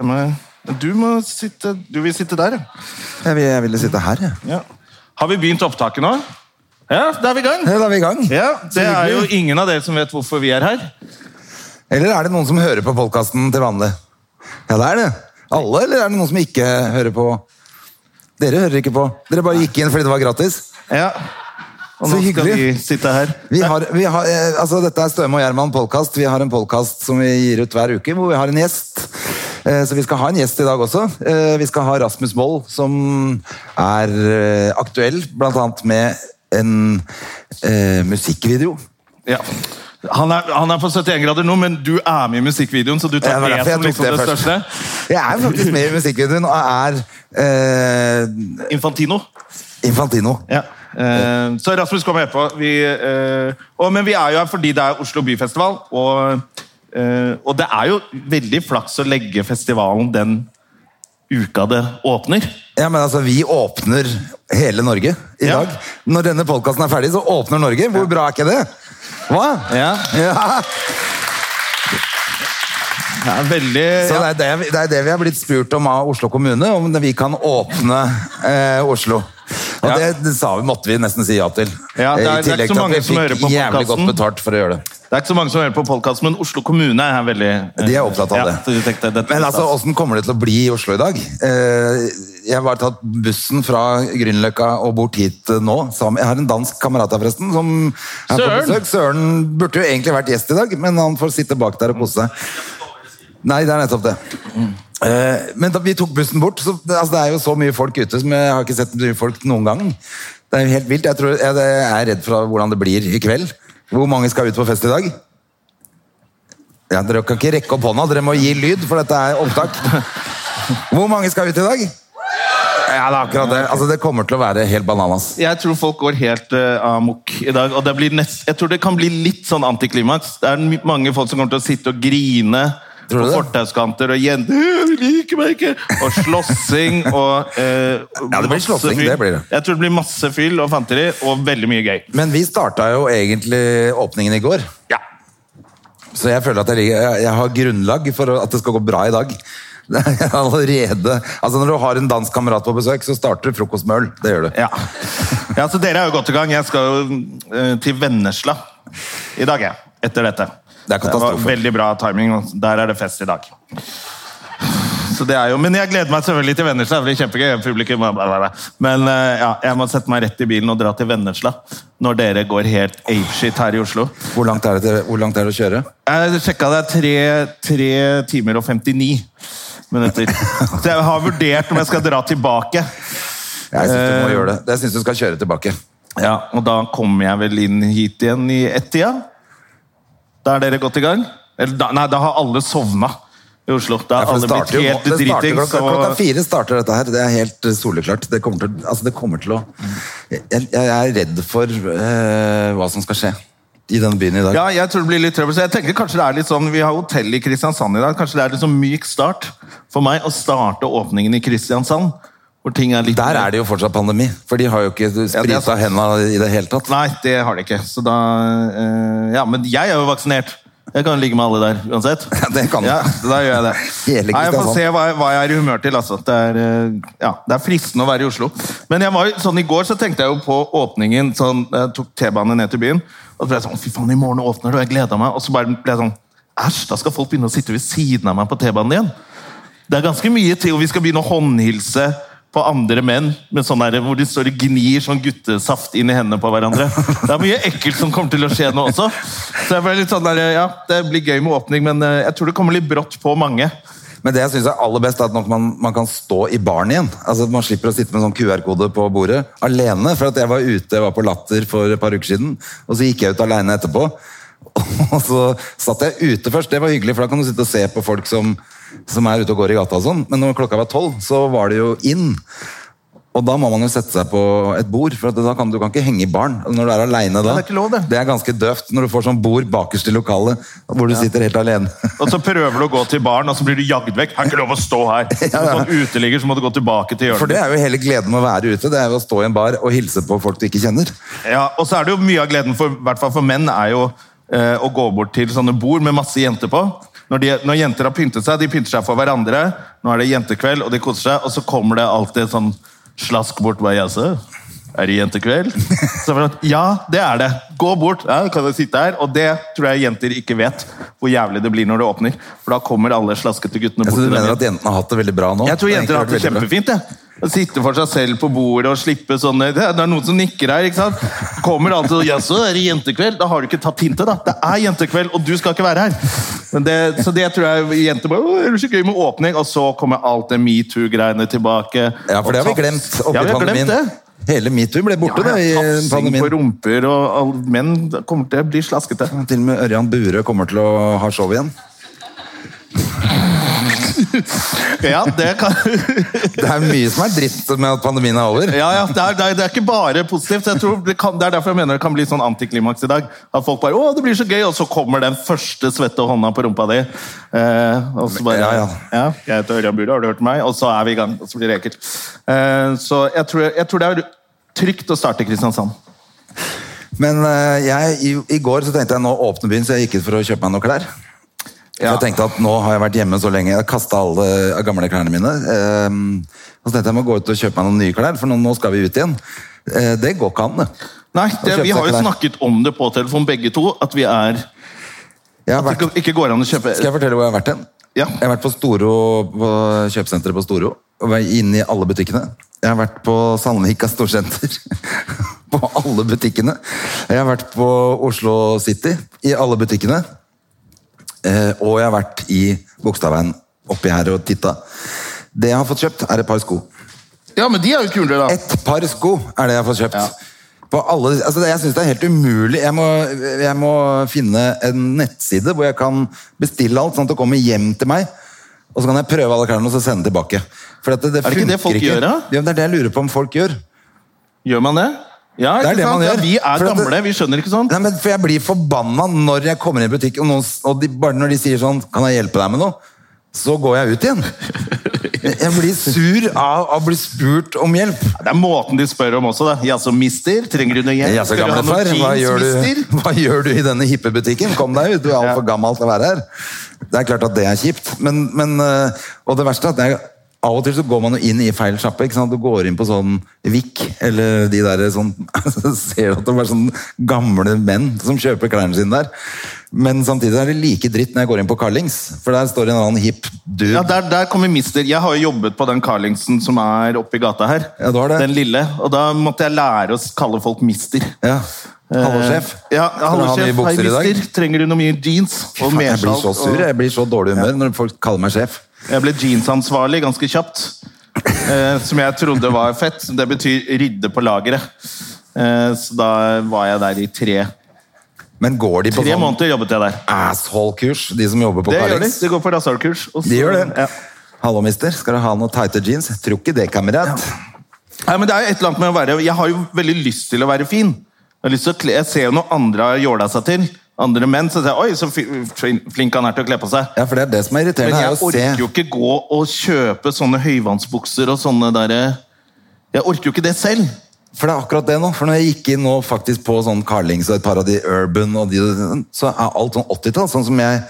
Jeg må- Du må sitte Du vil sitte der, ja. Jeg, vil, jeg ville sitte her, jeg. ja. Har vi begynt opptaket nå? Ja, da er vi i gang. Ja, Da er vi i gang. Ja, Det er jo hyggelig. ingen av dere som vet hvorfor vi er her. Eller er det noen som hører på podkasten til vanlig? Ja, det er det. Alle, eller er det noen som ikke hører på? Dere hører ikke på. Dere bare gikk inn fordi det var gratis. Ja. Og Så nå skal hyggelig. vi sitte her. Vi har, vi har, eh, altså dette er Støme og Gjerman podcast. Vi har en podcast som vi gir ut hver uke, hvor vi har en gjest. Eh, Så vi skal ha en gjest i dag også. Eh, Vi skal ha Rasmus Moll, som er eh, aktuell, blant annet med en eh, musikkvideo. Ja. Han er, han er på 71 grader nå, men du er med i musikkvideoen, så du Ja, tar det var det derfor jeg som tok liksom det det, først. største. Jeg er faktisk med i musikkvideoen og er eh, Infantino. Infantino. Ja. Eh, så Rasmus kommer etterpå. Vi, eh, og, men vi er jo her fordi det er Oslo byfestival, og, eh, og det er jo veldig flaks å legge festivalen den uka det åpner. Ja, men altså, vi åpner hele Norge i Ja. dag. Når denne podkasten er ferdig, så åpner Norge. Hvor bra er ikke det? Hva? Ja. Det er veldig... Så det er det, vi- det er det vi er blitt spurt om av Oslo kommune, om det- vi kan åpne eh, Oslo. Og Ja. det, det sa vi, måtte vi nesten si ja til. Ja, det er- Eh, I det er tillegg ikke så til at mange vi som hører fikk på jævlig godt podcasten. betalt for å gjøre det. Det er ikke så mange som hører på podkasten, men Oslo kommune er veldig eh, De er opptatt av ja, det. så de tenkte, dette Men er altså, stas. åssen kommer det til å bli i Oslo i dag? Eh, Jeg har tatt bussen fra Grünerløkka og bort hit eh, nå. sammen- Jeg har en dansk kamerat her, forresten. som er på Søren! besøk. Søren burde jo egentlig vært gjest i dag, men han får sitte bak der og kose seg. Nei, det er nettopp det. Eh, Men da vi tok bussen bort, så det- altså, det er jo så mye folk ute som jeg har ikke sett så mye folk noen gang. Det er jo helt vilt. Jeg, tror, jeg er redd for hvordan det blir i kveld. Hvor mange skal ut på fest i dag? Ja, dere kan ikke rekke opp hånda, dere må gi lyd, for dette er opptak. Hvor mange skal ut i dag? Ja, det er akkurat det. Altså, det kommer til å være helt bananas. Jeg tror folk går helt eh, amok i dag. Og det blir nest, jeg tror det kan bli litt sånn antiklimaks. Det er my- mange folk som kommer til å sitte og grine Tror du det? på fortauskanter og jenter «Øh, vi liker meg ikke! Og slåssing og eh, Ja, det blir masse slåssing, fyll. det blir det. Jeg tror det blir masse fyll og fanteri og veldig mye gøy. Men vi starta jo egentlig åpningen i går, Ja. så jeg føler at jeg, ligger, jeg, jeg har grunnlag for at det skal gå bra i dag. Det er Allerede Altså Når du har en dansk kamerat på besøk, så starter du frokost med øl. Det gjør du. Ja. ja, så dere er jo godt i gang. Jeg skal jo eh, til Vennesla i dag, jeg. Etter dette. Det er katastrofe. var veldig bra timing. og Der er det fest i dag. Så det er jo, men jeg gleder meg selvfølgelig til Vennesla. Det blir kjempegøy. Publikum, bla, bla, bla. Men eh, ja, jeg må sette meg rett i bilen og dra til Vennesla når dere går helt apeshit her i Oslo. Hvor langt er det, til, hvor langt er det å kjøre? Jeg sjekka det er tre, tre timer og 59 minutter. Så jeg har vurdert om jeg skal dra tilbake. Jeg syns du må gjøre det. Jeg syns du skal kjøre tilbake. Ja, og da kommer jeg vel inn hit igjen i ett-tida. Da er dere godt i gang? Eller, da, nei, da har alle sovna i Oslo. Da Ja, har for alle det blitt starter jo helt nå- det starter dritings. Klokka, klokka Og... fire starter dette her. Det er helt eh, soleklart. Det kommer til, altså det kommer til å jeg, jeg jeg er redd for eh, hva som skal skje i denne byen i dag. Ja, jeg tror det blir litt trøbbel. Så jeg tenker kanskje det er litt sånn, Vi har hotell i Kristiansand i dag. Kanskje det er litt sånn myk start for meg å starte åpningen i Kristiansand. Hvor ting er litt Der er det jo fortsatt pandemi, for de har jo ikke Ja, det er sprita sant. hendene i det hele tatt. Nei, det har det ikke. Så da eh, Ja, men jeg er jo vaksinert. Jeg kan ligge med alle der uansett. Ja, det kan du. Ja, så da gjør jeg det. Hele Nei, jeg får Kristiansand. se hva jeg, hva jeg er i humør til. Altså. Det, er, eh, ja, det er fristende å være i Oslo. Men jeg var, jo- sånn, i går så tenkte jeg jo på åpningen. Sånn, jeg tok T-banen ned til byen. Og så ble jeg sånn, fy faen, i morgen åpner det, og jeg gleda meg. Og så bare ble jeg sånn, æsj, da skal folk begynne å sitte ved siden av meg på T-banen igjen. Det er ganske mye til, og vi skal begynne å håndhilse på andre menn, med sånn der, hvor de står og gnir sånn guttesaft inn i hendene på hverandre. Det er mye ekkelt som kommer til å skje nå også. Så jeg ble litt sånn der, ja, Det blir gøy med åpning, men eh, jeg tror det kommer litt brått på mange. Men det jeg syns er aller best, er at nok man, man kan stå i baren igjen. Altså at Man slipper å sitte med sånn QR-kode på bordet alene. For at jeg var ute jeg var på Latter for et par uker siden, og så gikk jeg ut alene etterpå. Og så satt jeg ute først. Det var hyggelig, for da kan du sitte og se på folk som som er ute og går i gata og sånn. Men når klokka var tolv, så var det jo inn. Og da må man jo sette seg på et bord, for at da kan du kan ikke henge i baren. Altså, Når du er alene da. Ja, det er ikke lov, det. er ganske døvt når du får sånn bord bakerst i lokalet, hvor du sitter helt alene. Og så prøver du å gå til baren, og så blir du jagd vekk. Har ikke lov å stå her. Som en sånn uteligger så må du gå tilbake til For hjørnet. det er jo hele gleden med å være ute. Det er jo å stå i en bar og hilse på folk du ikke kjenner. Ja, og så er det jo mye av gleden for, i hvert fall for menn er jo eh, å gå bort til sånne bord med masse jenter på. Når, de, når jenter har pyntet seg, de pynter seg for hverandre. Nå er det jentekveld, og de koser seg, og så kommer det alltid et sånn slask bort. Hva jeg sa? Er det jentekveld? Så var det, sånn, ja, det er det. Gå bort. Ja, kan jeg sitte her? Og det tror jeg jenter ikke vet hvor jævlig det blir når det åpner. For da kommer alle slaskete guttene bort. Så du til dem. mener at jentene har hatt det veldig bra nå? Jeg tror jenter har hatt det egentlig vært veldig bra. kjempefint. Jeg. Å Sitte for seg selv på bordet og slippe sånne Det er det er noen som nikker her. ikke sant? Kommer alltid og 'Jaså, er det jentekveld?' Da har du ikke tatt hintet, da. Det er jentekveld, og du skal ikke være her. Men det, så det tror jeg jenter bare «Åh, er det så gøy med åpning? Og så kommer alt det metoo-greiene tilbake. Ja, for det har vi Og tafs. glemt oppi ja, vi har pandemien. glemt det. Hele metoo ble borte da, Ja, i Tafsing på pandemien. rumper og all, menn det kommer til å bli slaskete. Til og med Ørjan Burøe kommer til å ha show igjen. Ja, det kan Det er mye som er dritt med at pandemien er over. Ja, ja, det er, det, er, det er ikke bare positivt. Jeg tror det, kan, det er derfor jeg mener det kan bli sånn antiklimaks i dag. At folk bare 'Å, det blir så gøy', og så kommer den første svette hånda på rumpa di. Eh, og så bare Ja, ja. jeg heter Ørjan Bure, har du hørt meg?' Og så er vi i gang. Og så blir det ekkelt. Eh, så jeg tror, jeg tror det er trygt å starte i Kristiansand. Men eh, jeg, i, i går så tenkte jeg nå åpner byen, så jeg gikk ut for å kjøpe meg noen klær. For Ja. Jeg tenkte at nå har jeg vært hjemme så lenge, jeg har kastet alle eh, gamle klærne mine. Eh, og så tenkte jeg jeg må gå ut og kjøpe meg noen nye klær, for nå, nå skal vi ut igjen. Eh, det går ikke an, det. Nei, Og det, kjøpte vi har jo klær. snakket om det på telefon, begge to, at vi er Jeg har At det vært, ikke- ikke går an å kjøpe skal jeg fortelle hvor jeg har vært hen? Ja. Jeg har vært på Storo, på kjøpesenteret på Storo. Og vært inne i alle butikkene. Jeg har vært på Sandvika Storsenter. på alle butikkene. Jeg har vært på Oslo City. I alle butikkene. Eh, og jeg har vært i Bogstadveien oppi her og titta. Det jeg har fått kjøpt, er et par sko. Ja, men de er jo kulere, da. Et par sko er det jeg har fått kjøpt. På alle, altså det, jeg syns det er helt umulig. Jeg må, jeg må finne en nettside hvor jeg kan bestille alt, sånn at det kommer hjem til meg. Og så kan jeg prøve alle klærne og så sende tilbake. For at det, det Er det ikke det funker folk gjør, da? Ja, men det er det jeg lurer på om folk gjør. Gjør man det? Ja, Det er ikke det sant? man gjør. Ja, vi er For at det- gamle, vi skjønner ikke sånn. Nei, men for Jeg blir forbanna når jeg kommer inn i butikk, og, noen, og de, bare når de sier sånn 'Kan jeg hjelpe deg med noe?' Så går jeg ut igjen. Jeg blir sur av av å bli spurt om hjelp. Det er måten de spør om også. da. Jaså, mister? Trenger du noe hjelp? Ja, så Skal du gamle ha noen far, hva jeans, gjør, du, mister? hva gjør du i denne hippe butikken? Kom deg ut, du er altfor gammel til å være her. Det er klart at det er kjipt, men, men øh, Og det verste er at det er, av og til så går man jo inn i feil sjappe. ikke sant? Du går inn på sånn Vik, eller de der sånn Så ser du at det er sånn gamle menn som kjøper klærne sine der. Men samtidig er det like dritt når jeg går inn på Carlings, for der står en annen hipp dude. Ja, der, der kommer mister. Jeg har jo jobbet på den Carlingsen som er oppi gata her. Ja, du har det. Den lille. Og da måtte jeg lære å kalle folk mister. Ja. Hallo, sjef. Eh, Ja, Skal du ha hallo, nye sjef. Hei, bukser i dag? mister. Trenger du noe mye jeans? Fy faen, jeg blir så mersalt, sur, og- jeg blir så dårlig humør når folk kaller meg sjef. Jeg ble jeansansvarlig ganske kjapt. Eh, som jeg trodde var fett. Det betyr rydde på lageret. Eh, så da var jeg der i tre, Men går de på tre sånn måneder. jobbet jeg der. asshole-kurs, de som jobber på Det gjør de. Carlings. De går på rasshølkurs. og så- De gjør det. Ja. Hallo, mister. Skal du ha noen tighte jeans? Jeg tror ikke det, kamerat. Nei, men det er jo et eller annet med å være Jeg har jo veldig lyst til å være fin. Jeg, har lyst til å kle, jeg ser jo noe andre har jåla seg til. Andre menn. Så sier jeg oi, så fi- fin- flink han er til å kle på seg. Ja, for det er det som er Men irriterende. er jeg å orker jo se. ikke gå og kjøpe sånne høyvannsbukser og sånne derre Jeg orker jo ikke det selv. For det er akkurat det nå. For når jeg gikk inn nå faktisk på sånn Carlings og et par av de Urban, og de, så er alt sånn 80-tall, sånn som jeg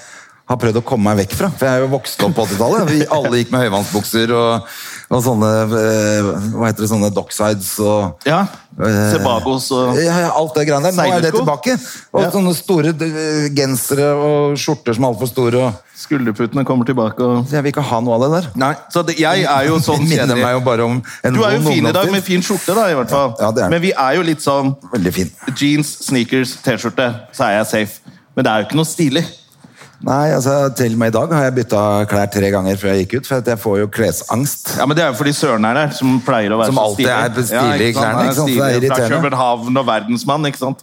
har prøvd å komme meg vekk fra. For jeg er jo vokst opp på 80-tallet. Vi alle gikk med høyvannsbukser og, og sånne eh, Hva heter det, sånne docksides og Ja. Eh, Sebagos og ja, ja, alt det greiene der. Nå er det Seilersko. tilbake. Og Ja. sånne store eh, gensere og skjorter som er altfor store. Og Skulderputene kommer tilbake og Så jeg vil ikke ha noe av det der. Nei, så det, jeg er jo sånn minner meg jo kjedelig. bare om en Du er jo vond fin i dag ungdomstid. med fin skjorte, da, i hvert fall. Ja, det er den. Men vi er jo litt sånn Veldig fin. jeans, sneakers, T-skjorte, så er jeg safe. Men det er jo ikke noe stilig. Nei, altså til og med i dag har jeg bytta klær tre ganger før jeg gikk ut, for at jeg får jo klesangst. Ja, men Det er jo fordi Søren er her, som pleier å være Som så alltid stilig. er på stilig i sant? klærne, Han er ikke sant? Så det er stilig. Fra irriterende. København og verdensmann, ikke sant.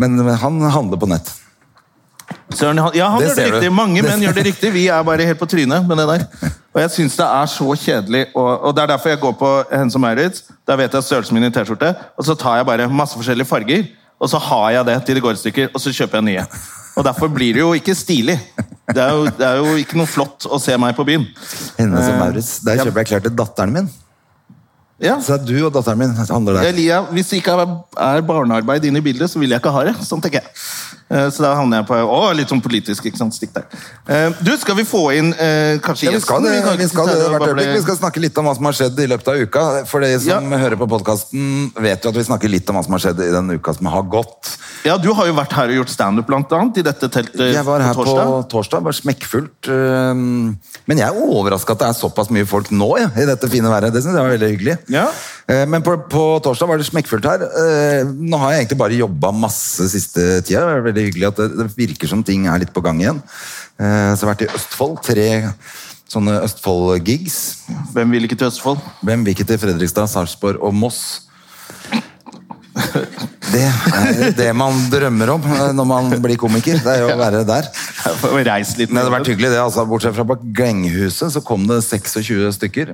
Men, men han handler på nett. Søren, han, ja, han Det gjør det ser du. riktig. Mange Det menn ser- gjør det riktig. Vi er bare helt på trynet med det der. Og jeg syns det er så kjedelig. Og, og det er derfor jeg går på Hennes og Maurits. Der vet jeg størrelsen min i T-skjorte. Og så tar jeg bare masse forskjellige farger, og så har jeg det til det går i stykker, og så kjøper jeg nye. Og derfor blir det jo ikke stilig. Det er jo, det er jo ikke noe flott å se meg på byen. Hennes og Eh, Maurits. Der ja. kjøper jeg klær til datteren min. Ja. Så det er du og datteren min handler der. Elia, hvis det ikke er- er barnearbeid inne i bildet, så vil jeg ikke ha det. Sånn tenker jeg. Eh, Så da havner jeg på å, litt sånn politisk. ikke sant? Stikk der. Eh, Du, skal vi få inn eh, kanskje Ja, vi skal, det, gjesten? kan vi, ikke skal sitte det, her og hvert øyeblikk. bable- vi skal snakke litt om hva som har skjedd i løpet av uka. For de som Ja. hører på podkasten, vet jo at vi snakker litt om hva som har skjedd i den uka som har gått. Ja, Du har jo vært her og gjort standup, blant annet, i dette teltet Jeg var her eh, på på torsdag. torsdag, var smekkfullt. øhm, Men jeg er overraska at det er såpass mye folk nå ja, i dette fine været. Det synes jeg var veldig hyggelig. Ja. Eh, Men på, på torsdag var det smekkfullt her. Eh, Nå har jeg egentlig bare jobba masse siste tida. Det er veldig hyggelig at det, det virker som ting er litt på gang igjen. Eh, Så jeg har vært i Østfold. Tre sånne Østfold-gigs. Hvem vil ikke til Østfold? Hvem vil ikke til Fredrikstad, Sarpsborg og Moss? Det er det man drømmer om eh, når man blir komiker. Det er jo å være der. Jeg får Reis litt. Nei, det har vært hyggelig det, altså. Bortsett fra på Glenghuset så kom det 26 stykker.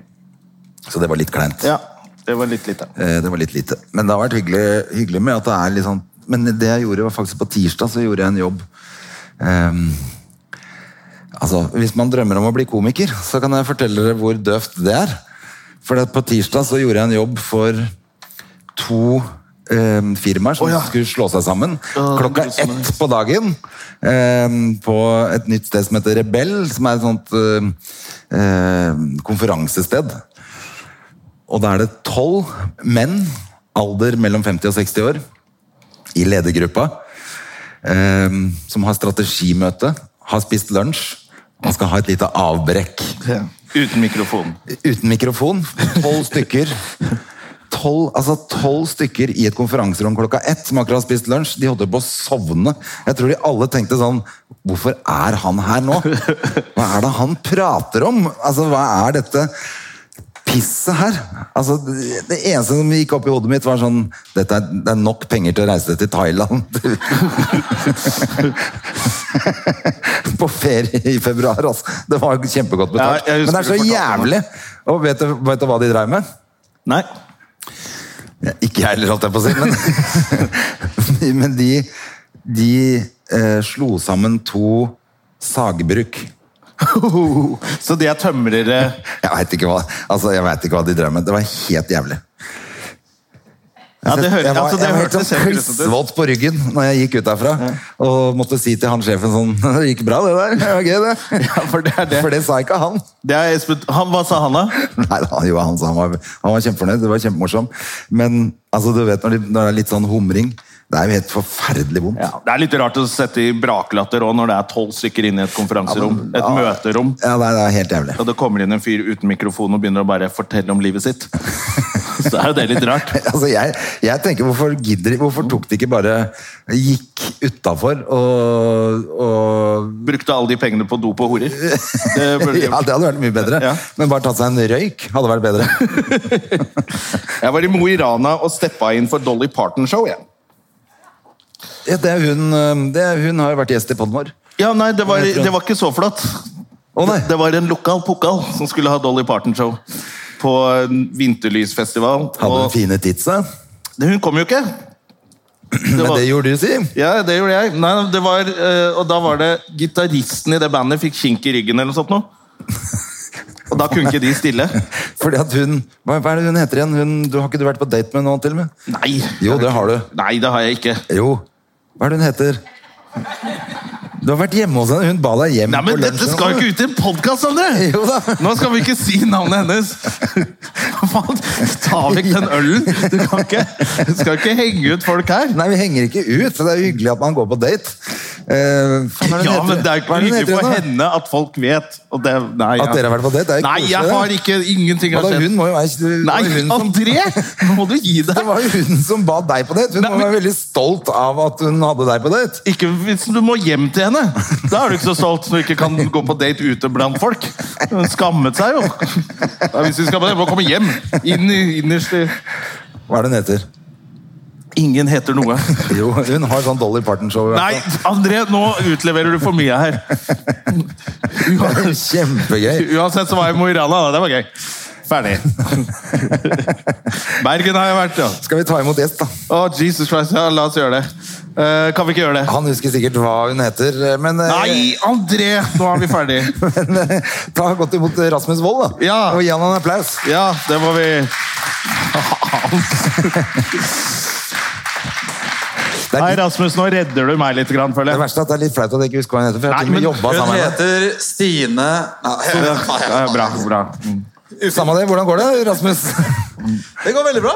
Så det var litt kleint. Ja, det var litt lite. Eh, Det var litt lite. Men det har vært hyggelig, hyggelig med at det er litt sånn... Men det jeg gjorde var faktisk på tirsdag, så gjorde jeg en jobb. Ehm, altså, hvis man drømmer om å bli komiker, så kan jeg fortelle dere hvor døvt det er. For det at på tirsdag så gjorde jeg en jobb for to ehm, firmaer som Å, ja. skulle slå seg sammen. Ja, Klokka det er sånn. ett på dagen ehm, på et nytt sted som heter Rebell, som er et sånt ehm, ehm, konferansested. Og da er det tolv menn, alder mellom 50 og 60 år, i ledergruppa, ehm, som har strategimøte, har spist lunsj, og skal ha et lite avbrekk Uten mikrofon. uten mikrofon. Tolv stykker. Tolv altså 12 stykker i et konferanserom klokka ett som akkurat har spist lunsj. De holdt på å sovne. Jeg tror de alle tenkte sånn Hvorfor er han her nå? Hva er det han prater om? Altså, hva er dette pisset her? Altså, det det eneste som gikk opp i hodet mitt, var sånn Dette er, det er nok penger til å reise til Thailand. på ferie i februar, altså. Det var jo kjempegodt betalt. Ja, jeg Men husker det er så du fortalte meg. jævlig! Og vet du, vet du hva de dreiv med? Nei. Ikke jeg heller, holdt jeg på å si, men, men de, de eh, slo sammen to sagbruk. Så de er tømrere Jeg veit ikke, hva- altså, jeg vet ikke hva de drev med. Det var helt jævlig. Ja, det hører jeg var, altså, det jeg var helt hørtes sånn helt grusomt ut. klissvåt på ryggen når jeg gikk ut derfra. Og måtte si til han sjefen sånn Det gikk bra, det der. Det var gøy, det. Ja, for det er det. For det sa ikke han. Det er Espen han, Hva sa han, da? Nei, da, jo, han, sa han, var, han var kjempefornøyd, det var kjempemorsom. Men altså, du vet når, de, når det er litt sånn humring, det er jo helt forferdelig vondt. Ja, det er litt rart å sette i braklatter òg når det er tolv stykker inne i et konferanserom. Et møterom. Ja, det er, det er helt jævlig. Og det kommer inn en fyr uten mikrofon og begynner å bare fortelle om livet sitt. Så er jo det litt rart. Altså, jeg, jeg tenker, hvorfor gidder de, hvorfor tok de ikke bare, gikk utenfor og, og Brukte alle de pengene på dop og horer. Det burde de ja, gjort. det hadde vært mye bedre. Ja. Men bare tatt seg en røyk hadde vært bedre. Jeg var i Mo i Rana og steppa inn for Dolly Parton-show. jeg. Ja, det er hun, øhm, det er, hun har jo vært gjest i podden vår. Ja, nei, det var, det var ikke så flott. Å, nei. Det, det var en lokal pokal som skulle ha Dolly Parton-show på en vinterlysfestival. Hadde hun Og fine titsa. hun kom jo ikke. Det Men var- det gjorde du, si. Ja, det gjorde jeg. Nei, det var, eh, og da var det gitaristen i det bandet fikk kink i ryggen eller noe sånt. nå. Og da kunne ikke de stille. Fordi at hun, hva, hva er det hun heter igjen? Hun, du har ikke du vært på date med nå til og med? Nei. Jo, det har du. Nei, det har jeg ikke. Jo. Hva er det hun heter? Du har vært hjemme hos henne. Hun ba deg hjem Nei, men Dette skal jo ikke ut i en podkast, André! Jo da. Nå skal vi ikke si navnet hennes! Faen, Ta vekk den ølen! Du kan ikke, du skal ikke henge ut folk her. Nei, vi henger ikke ut, så det er jo hyggelig at man går på date. Eh, faen, hva er det hun Ja, heter? men Det er jo Hva er det hun ikke hyggelig heter for igjen, da? henne at folk vet og det, nei, At ja. dere har vært på date? Det er jo Nei, jeg koselig, har det. ikke Ingenting har Hva da, skjedd. hun må jo være det var Nei, jo hun som, André! Nå må du gi deg! Det var jo hun som ba deg på date. Hun Nei, må men- være veldig stolt av at hun hadde deg på date. Ikke hvis du må hjem til henne. Da er du ikke så stolt når du ikke kan gå på date ute blant folk. Hun skammet seg jo. Ja, hvis vi skal på det, må komme hjem. Inn i, innerst i Hva er det hun heter? Ingen heter noe. Jo, hun har sånn Dolly Parton-show. i hvert Nei, fall. André, nå utleverer du for mye her. Uansett, Kjempegøy. uansett så var jeg i Mo i Rana, da. Det var gøy. Ferdig. Bergen har jeg vært, ja. Skal vi ta imot gjest, da? Å, Jesus Christ, ja, la oss gjøre det. Eh, kan vi ikke gjøre det? Han husker sikkert hva hun heter, men eh, Nei, André! Nå er vi ferdig. Men eh, ta godt imot Rasmus Wold, da. Ja. Og gi han en applaus. Ja, det må vi Det, er Hei, litt, Rasmus, nå redder du meg litt, grann, det føler jeg. verste er at det er litt flaut at jeg ikke husker hva han heter. For jeg har til Nei, og med jobba men Hun sammen med henne. heter Stine Ja, Nei, bra, bra. Mm. Samme det, hvordan går det, Rasmus? Det går veldig bra.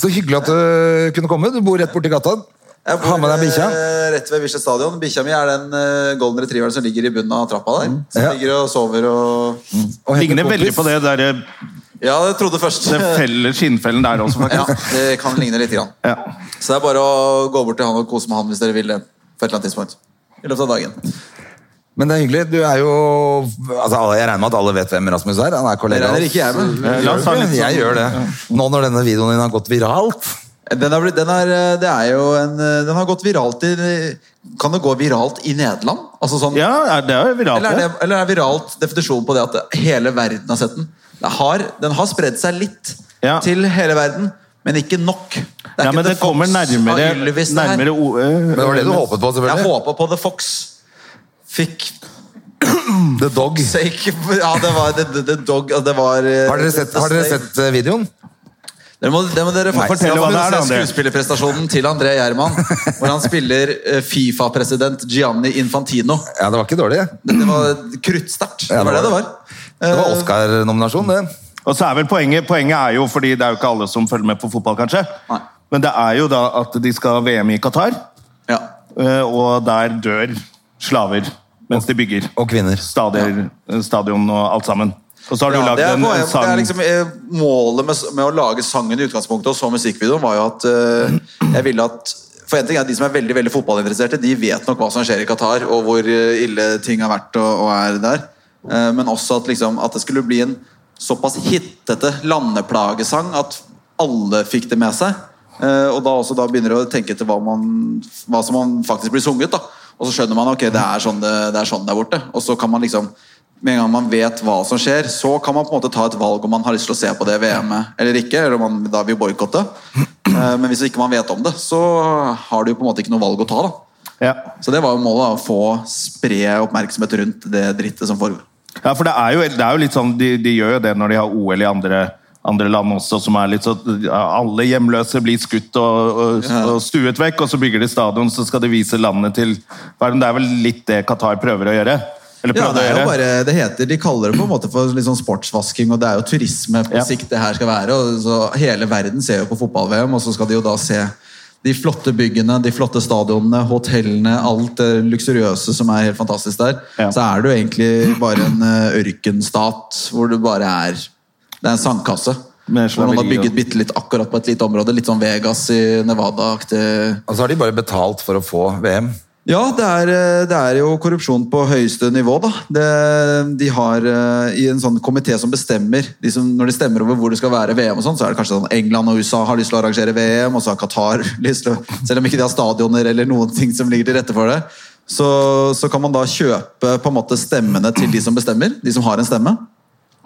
Så hyggelig at du eh, kunne komme. Du bor rett borti gata. Jeg Ha med deg bikkja. eh, Rett ved Bislett stadion. Bikkja mi er den eh, golden retrieveren som ligger i bunnen av trappa der. Som Mm. Ja. Mm. ligger og sover og og henter Ligner kompis. veldig på det der, Ja, det trodde først. det felle skinnfellen der også, Ja, faktisk. det kan ligne litt. Grann. Ja. Så det er bare å gå bort til han og kose med han hvis dere vil det. På et eller annet tidspunkt. I løpet av dagen. Men det er hyggelig. Du er jo altså, alle- Jeg regner med at alle vet hvem Rasmus er. Han er Det kollega av regner oss. ikke jeg med. Eh, La oss ta litt Jeg, jeg gjør det. Nå når denne videoen din har gått viralt. Den, er, blitt- den, er, eh, det er jo en, eh, den har gått viralt i Kan det gå viralt i Nederland? Altså sånn, Ja, er- det er jo viralt, eller, er det. det, eller er viralt definisjonen på det at hele verden har sett den? Den har, den har spredd seg litt Ja. til hele verden, men ikke nok. Det er Ja, ikke men The det kommer Fox nærmere, av Ylvis, det her. nærmere o- Men det var det du eh, håpet på, Jeg selvfølgelig. håpa på The Fox. Fikk The Dog. take Ja, det var The, the, the Dog og Det var eh, Har dere sett, har dere sett eh, videoen? Dere må, det må dere Nei, faktisk fortell dere må hva det er da, se André. skuespillerprestasjonen til André Gjerman, hvor han spiller eh, Fifa-president Gianni Infantino. Ja, det var ikke dårlig. Det, det var kruttsterkt. Ja, det Det var det det var var. Det var Eh, Oscar-nominasjon, det. Og så er vel poenget, poenget er jo, fordi det er jo ikke alle som følger med på fotball, kanskje, Nei. men det er jo da at de skal ha VM i Qatar, Ja. eh, og der dør slaver mens de bygger. Og kvinner. Stadier, eh, stadion og alt sammen. Og så har du Ja, lagd det, er, en poen- sang det er liksom eh, Målet med, s- med å lage sangen i utgangspunktet og så musikkvideoen var jo at eh, jeg ville at For en ting er at De som er veldig veldig fotballinteresserte, de vet nok hva som skjer i Qatar, og hvor eh, ille ting har vært og, og er der. Eh, men også at, liksom, at det skulle bli en såpass hittete landeplagesang at alle fikk det med seg. Eh, og da også da begynner du å tenke til hva, man, hva som man faktisk blir sunget. da Og så skjønner man ok, det er sånn det, det er sånn der borte. Og så kan man liksom med en gang man vet hva som skjer, så kan man på en måte ta et valg om man har lyst til å se på det VM-et eller ikke. Eller om man da vil boikotte. Eh, Men hvis ikke man vet om det, så har du jo på en måte ikke noe valg å ta. da. Ja. Så det var jo målet. da, Å få spre oppmerksomhet rundt det drittet som foregår. ja, for det er jo, det er jo litt sånn de, de gjør jo det når de har OL i andre andre land også, som er litt så Alle hjemløse blir skutt og, og, og stuet vekk, og så bygger de stadion, så skal de vise landet til verden. Det er vel litt det Qatar prøver å gjøre? Eller Ja, prøvde det å er jo gjøre. bare, det heter, De kaller det på en måte for litt sånn sportsvasking, og det er jo turisme på Ja. sikt det her skal være. og så Hele verden ser jo på fotball-VM, og så skal de jo da se de flotte byggene, de flotte stadionene, hotellene, alt det luksuriøse som er helt fantastisk der. Ja. Så er det jo egentlig bare en eh, ørkenstat hvor det bare er Det er en sandkasse. Med Hvor man har slaveri og- bygget bitte litt akkurat på et lite område. Litt sånn Vegas i Nevada-aktig. Og så har de bare betalt for å få VM. Ja, det er, eh, det er jo korrupsjon på høyeste nivå, da. Det, de har eh, i en sånn komité som bestemmer de som, Når de stemmer over hvor det skal være VM og sånn, så er det kanskje sånn England og USA har lyst til å arrangere VM, og så har Qatar lyst til å Selv om ikke de har stadioner eller noen ting som ligger til rette for det, så, så kan man da kjøpe på en måte stemmene til de som bestemmer, de som har en stemme.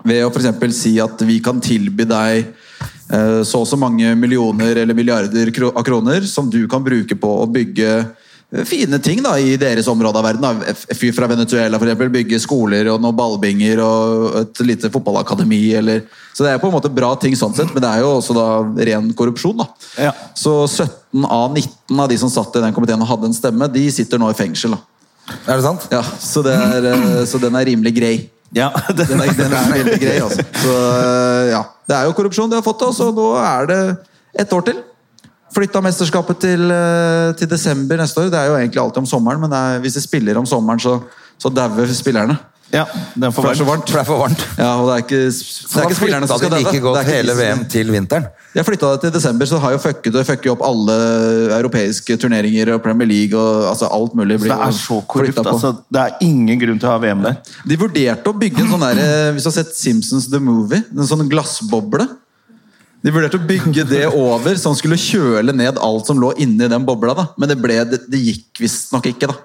Ved å for eksempel si at vi kan tilby deg eh, så og så mange millioner eller milliarder kro- av kroner som du kan bruke på å bygge eh, fine ting da, i deres område av verden. da. F- Fyr fra Venezuela for eksempel, bygge skoler og noen ballbinger og et lite fotballakademi. Eller. Så det er på en måte bra ting sånn sett, men det er jo også da ren korrupsjon. da. Ja. Så 17 av 19 av de som satt i den komiteen og hadde en stemme, de sitter nå i fengsel. da. Er det sant? Ja, så, det er, eh, så den er rimelig grei. Ja, det, Den er, den er veldig grei, altså. Så ja, Det er jo korrupsjon de har fått, og så nå er det ett år til. Flytta mesterskapet til, eh, til desember neste år. Det er jo egentlig alltid om sommeren, men det er, hvis de spiller om sommeren, så, så dauer spillerne. ja, den får For det er være. så varmt. For det er for varmt. Ja, og det er ikke, det er ikke spillerne som Da flytta de skal daue. like Det godt er ikke hele de som- VM til vinteren. De har flytta det til desember, så det har jo fucket og fucket opp alle europeiske turneringer og Premier League og altså alt mulig. blir Det er jo så korrupt. flyttet på. Altså, det er ingen grunn til å ha VM der. De vurderte å bygge en sånn der, eh, hvis du har sett Simpsons The Movie, en sånn glassboble. De vurderte å bygge det over, så han skulle kjøle ned alt som lå inni den bobla. da. Men det, ble, det, det gikk visstnok ikke, da.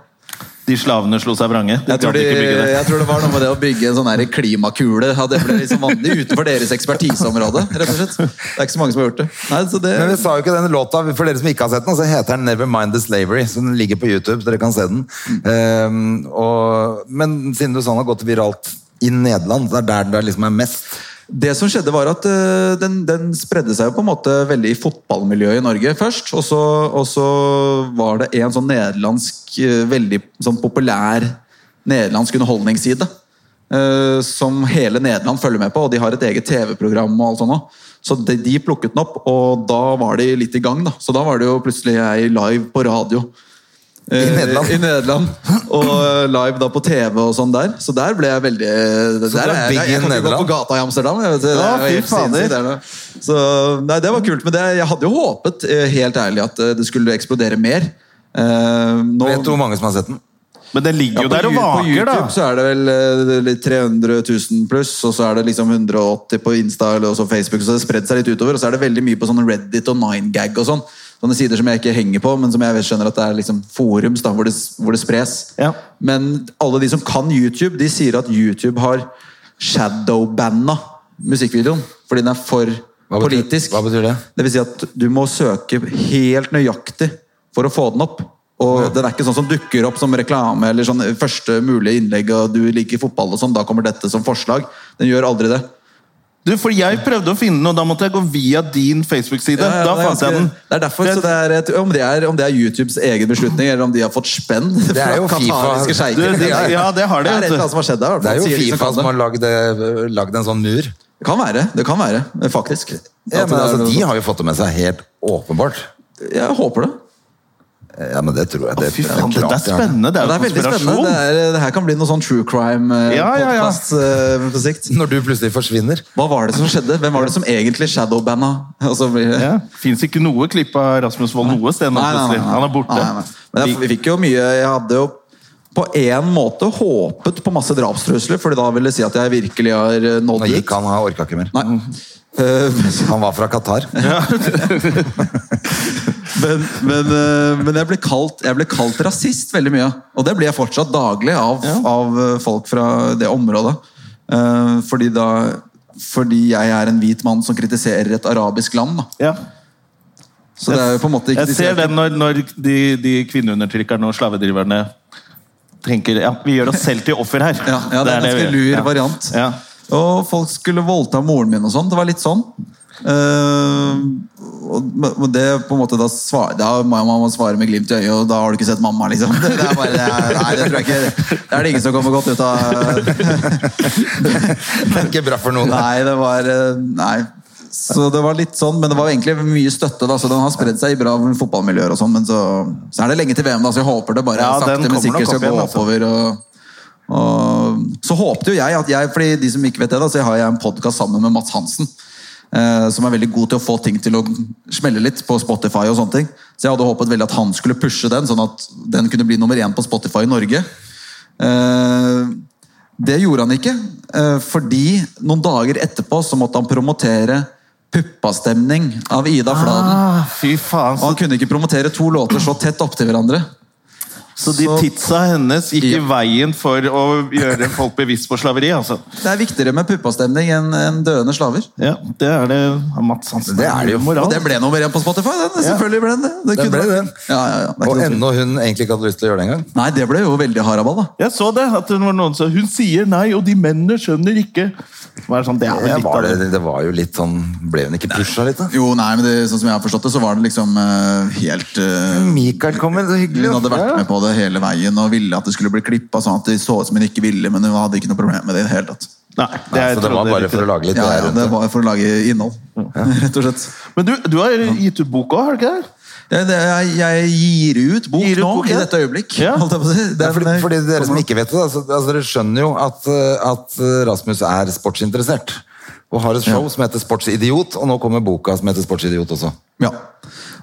De slavene slo seg vrange. De Jeg tror, klarte de, ikke å bygge det. jeg tror det var noe med det å bygge en sånn her klimakule. Ja, det ble liksom vanlig utenfor deres ekspertiseområde. rett og slett. Det er ikke så mange som har gjort det. Nei, så det Men vi sa jo ikke denne låta, for dere som ikke har sett den, så heter den Never Mind the Slavery, så den ligger på YouTube, så dere kan se den. Ehm, og, men siden du sa den har gått viralt i Nederland, så er det der det liksom er mest. Det som skjedde var at eh, den, den spredde seg jo på en måte veldig i fotballmiljøet i Norge først. Og så, og så var det en sånn nederlandsk, eh, veldig sånn populær nederlandsk underholdningsside. eh, Som hele Nederland følger med på, og de har et eget TV-program. og alt sånt også. Så de, de plukket den opp, og da var de litt i gang. da. Så da var det jo plutselig jeg live på radio. I Nederland. I Nederland. Og eh, live da på TV og sånn der. Så der ble jeg veldig der, du er er big jeg, in jeg kan ikke gå Nederland? på gata i Amsterdam. Jeg vet, det Ja, er jo fy helt fader. sinnssykt. det er det. Så, nei, det var kult. Men det, jeg hadde jo håpet eh, helt ærlig at eh, det skulle eksplodere mer. Eh, nå, Vet du hvor mange som har sett den? Men det Ja, ligger på jo der og Yu- På vaker, YouTube da. så er det vel eh, litt 300 000 pluss, og så er det liksom 180 på Insta eller også Facebook, så det spredde seg litt utover. Og så er det veldig mye på sånn Reddit og 9gag og sånn. Sånne sider som jeg ikke henger på, men som jeg vet skjønner at det er liksom forums da, hvor det, hvor det spres. Ja. Men alle de som kan YouTube, de sier at YouTube har shadowbanna musikkvideoen. Fordi den er for Hva betyr- politisk. hva betyr det? Det vil si at du må søke helt nøyaktig for å få den opp. Og den er ikke sånn som dukker opp som reklame eller sånn første mulige innlegg og du liker fotball og sånn, da kommer dette som forslag. Den gjør aldri det. Du, for jeg prøvde å finne den, og da måtte jeg gå via din Facebook-side. Ja, ja, da det er fant jeg ganske- den. Det er derfor, så det er et, om, det er, om det er YouTubes egen beslutning, eller om de har fått spenn Det er jo fra FIFA. qatariske Du, sjeiker. det- ja, det har de, Det er et vet du. eller annet som har skjedd der. i hvert Det er jo fall, sier de som Fifa kan det. som har lagd, eh, lagd en sånn mur. Det kan være, det kan være, faktisk. Ja, At men det er altså, noe De har jo fått det med seg helt åpenbart. sånt. Jeg håper det. Ja, men det tror jeg. Det, Fy det er faen, klart dette er de har det. spennende. Det er Det jo er veldig spennende. konspirasjon. Det, er, det her kan bli noe sånn true crime-podkast Ja, ja, ja. på sikt. Når du plutselig forsvinner. Hva var det som skjedde? Hvem var det som egentlig shadowbanna? Altså, vi- Ja. Fins ikke noe klipp av Rasmus Wold noe sted nå, Nei, nei, nei, plutselig. nei. Han er borte. Nei, nei. Men jeg, vi fikk jo mye Jeg hadde jo på en måte håpet på masse drapstrusler, Fordi da vil det si at jeg virkelig har eh, Nå nådd ut. gikk han, han orka ikke mer. Nei. Eh, Han var fra Qatar. men, men, eh, men jeg ble kalt Jeg ble kalt rasist veldig mye. Og det blir jeg fortsatt daglig av, av eh, folk fra det området. Eh, Fordi da Fordi jeg er en hvit mann som kritiserer et arabisk land. Da. Ja. Så det er jo på en måte ikke Jeg ser det når, når de, de kvinneundertrykkerne og slavedriverne tenker ja, vi gjør oss selv til offer her. Ja, ja, det er en vi ganske gjør. lur Ja. variant. Ja. Og folk skulle voldta moren min og sånn. Det var litt sånn. Eh, og men det på en måte da, svar, da må man må svare med glimt i øyet, og da har du ikke sett mamma, liksom. Det er, bare, det er, nei, det tror jeg ikke. Det er det ingen som kommer godt ut av. Det er ikke bra for noen. Nei, det var eh, Nei. Så det var litt sånn, men det var egentlig mye støtte, da, så den har spredd seg i bra fotballmiljøer og sånn, men så, så er det lenge til VM, da, så jeg håper det bare Ja, den sakte, men kommer nok sikkert skal opp gå igjen, altså. oppover og, og Så håpte jo jeg at jeg, fordi de som ikke vet det, da, så har jeg en podkast sammen med Mats Hansen. eh, som er veldig god til å få ting til å smelle litt på Spotify. og sånne ting Så jeg hadde håpet veldig at han skulle pushe den, sånn at den kunne bli nummer én på Spotify i Norge. Eh, det gjorde han ikke, eh, fordi noen dager etterpå så måtte han promotere Puppastemning av Ida Fladen. Ah, fy faen. Og han kunne ikke promotere to låter så tett opptil hverandre. Så de Så- tidsa hennes gikk i veien for å gjøre folk bevisst på slaveri, altså. Det er viktigere med puppastemning enn enn døende slaver. Ja, det er det Mats Hansen. Det er det jo. Moral. Og det ble nummer én på Spotify. Den, selvfølgelig ble den det. Den Det kunne ble vært- det. Ja, ja, ja. Det er Og ikke noe tvil. ennå hun egentlig ikke hadde lyst til å gjøre det engang. Nei, det ble jo veldig haraball, da. Jeg så det, at det var noen som Hun sier nei, og de mennene skjønner ikke. Det var sånn, det er vel Ja, litt var av det. det, det var jo litt sånn Ble hun ikke pusha litt, da? Jo, nei, men det, sånn som jeg har forstått det, så var det liksom eh, helt eh, Mikael kommer, så hyggelig. Hun hadde vært med på det hele veien og ville at det skulle bli klippa sånn at det så ut som hun ikke ville, men hun hadde ikke noe problem med det i det hele tatt. Nei, Nei, så det trodde var bare ikke for å lage litt Ja, der ja, rundt det det. var for å lage innhold, rett og slett. Men du, du har gitt ut bok òg, har du ikke det? Jeg, det- jeg, jeg gir ut bok Gir ut nå, bok, i ja. dette øyeblikk. Ja. holdt jeg på å si. Ja, fordi, Den, eh, fordi dere som kommer- ikke vet det, altså, altså dere skjønner jo at, eh, at eh, Rasmus er sportsinteressert. Og har et show som heter Sportsidiot, og nå kommer boka som heter Sportsidiot også. Ja.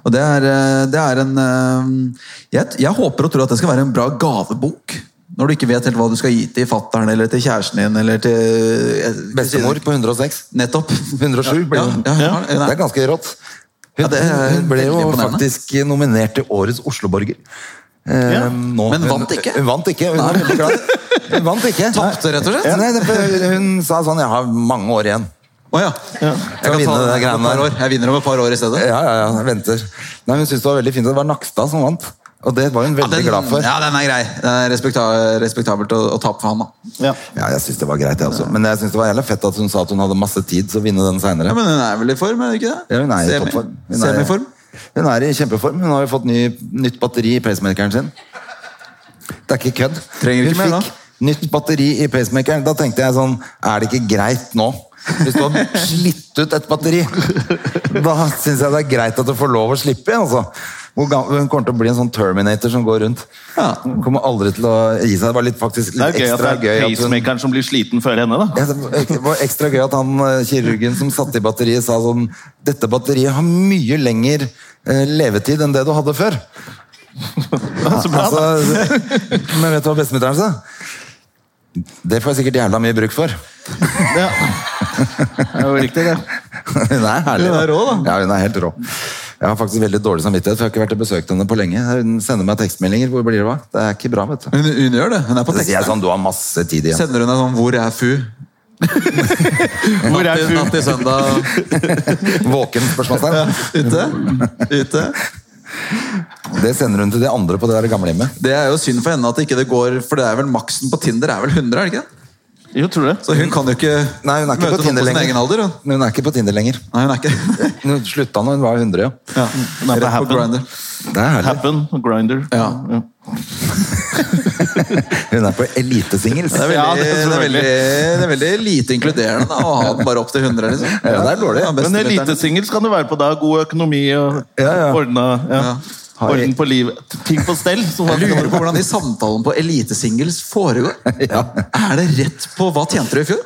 Og det er, eh, det er en eh, jeg, jeg håper og tror at det skal være en bra gavebok. Når du ikke vet helt hva du skal gi til fatteren eller til kjæresten din eller til eh, Bestemor på 106. Nettopp. 107 ble Ja, hun. ja, ja, Det er ganske rått. Hun, Ja, det er hun ble jo veldig imponerende. faktisk nominert til Årets Osloborger. Eh, Ja. nå- Men hun- vant ikke? Hun vant ikke. Hun var veldig glad. Hun vant ikke. Tapte, rett og slett? Ja, Nei, det- hun sa sånn Jeg har mange år igjen. Å ja. Skal Jeg, kan vinne ta det det om greiene et par der. år. jeg vinner om et par år i stedet. Ja, ja, ja, jeg venter. Nei, men hun syntes det var veldig fint at det var Nakstad som vant. Og det var hun veldig den, glad for. ja, den er grei. Det er respekta respektabelt å, å tape for han, da. Ja. Ja, jeg syns det var greit, jeg også. Men jeg synes det var jævlig fett at hun sa at hun hadde masse tid til å vinne den seinere. Ja, men hun er vel i form, er hun ikke det? Ja, hun er i Semi- toppform. Hun er- Semiform. Hun er i kjempeform. Hun har jo fått ny, nytt batteri i pacemakeren sin. Det er ikke kødd. Trenger ikke hun mer, fikk nytt batteri i pacemakeren. Da tenkte jeg sånn Er det ikke greit nå? Hvis du har slitt ut et batteri, da syns jeg det er greit at du får lov å slippe igjen. Altså. Hvor gam- Hun kommer til å bli en sånn Terminator som går rundt. Ja. Hun kommer aldri til å gi seg. Det var litt faktisk Det er litt jo gøy ekstra at det gøy er at hun pacemakeren som blir sliten før henne, da. ja, det var ekstra gøy at han eh, kirurgen som satte i batteriet, sa sånn Dette batteriet har mye lenger eh, levetid enn det du hadde før. Så bra, da. Altså, men vet du hva bestemutteren sa? Det får jeg sikkert jævla mye bruk for. Ja. Det er jo riktig, det. Hun er herlig. Hun er rå, Ja, hun er helt rå. Jeg har faktisk veldig dårlig samvittighet, for jeg har ikke vært og besøkt henne på lenge. Hun sender meg tekstmeldinger. Hvor blir det av? Det er ikke bra, vet du. Hun, hun gjør det. Hun er på Så sier jeg tekst. sånn, du har masse tid igjen. Sender hun deg sånn 'Hvor er Fu?' Hvor er Natt til- Natt hun? til søndag Våken spørsmålstegn. ute. ute. Det sender hun til de andre på det der gamle hjemmet. Det er jo synd for henne at ikke det går, for det er vel maksen på Tinder er vel 100, er det ikke det? Jo, tror du det? Så hun kan jo ikke Nei, hun er ikke møte på noen Tinder sin lenger. egen alder. Hun. Hun er ikke på Tinder lenger. Nei, hun er ikke Hun slutta når hun var 100, ja. ja. Nei, på Rett på Happen. Grindr. Det er herlig. Happen, Grinder. Ja. Hun er på elitesingles. Det er, veldig, Ja, det, det er er veldig, det er veldig lite inkluderende da, å ha den bare opp til 100. Liksom. Ja, det er dårlig. Men bestemutteren. elitesingel skal du være på da. God økonomi og Ja, ja. ordna ja. Har jeg- Orden på livet. Ting på stell. Som man Jeg skal lurer på hvordan de samtalene på elitesingles foregår. Er det rett på hva tjente du i fjor?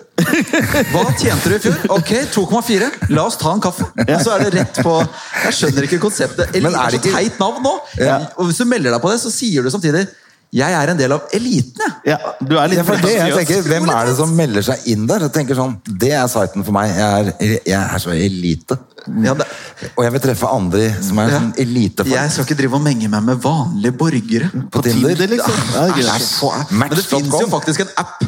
Hva tjente du i fjor? Ok, 2,4. La oss ta en kaffe. Og så er det rett på Jeg skjønner ikke konseptet. Elite Men er er det så ikke- teit navn nå. Ja. Og hvis du melder deg på det, så sier du samtidig jeg er en del av eliten, jeg. ja, du er litt Ja, for det jeg pretensiøs. tenker, Hvem er det som melder seg inn der? Jeg tenker sånn, Det er siten for meg. Jeg er, jeg er så elite. Ja, det, Og jeg vil treffe andre som Mm. er sånn jeg elitefolk skal ikke drive og menge meg med vanlige borgere. på Tinder. Tinder, liksom. Ja, det er greit. Æsj, så er- Men det Match.com. finnes jo faktisk en app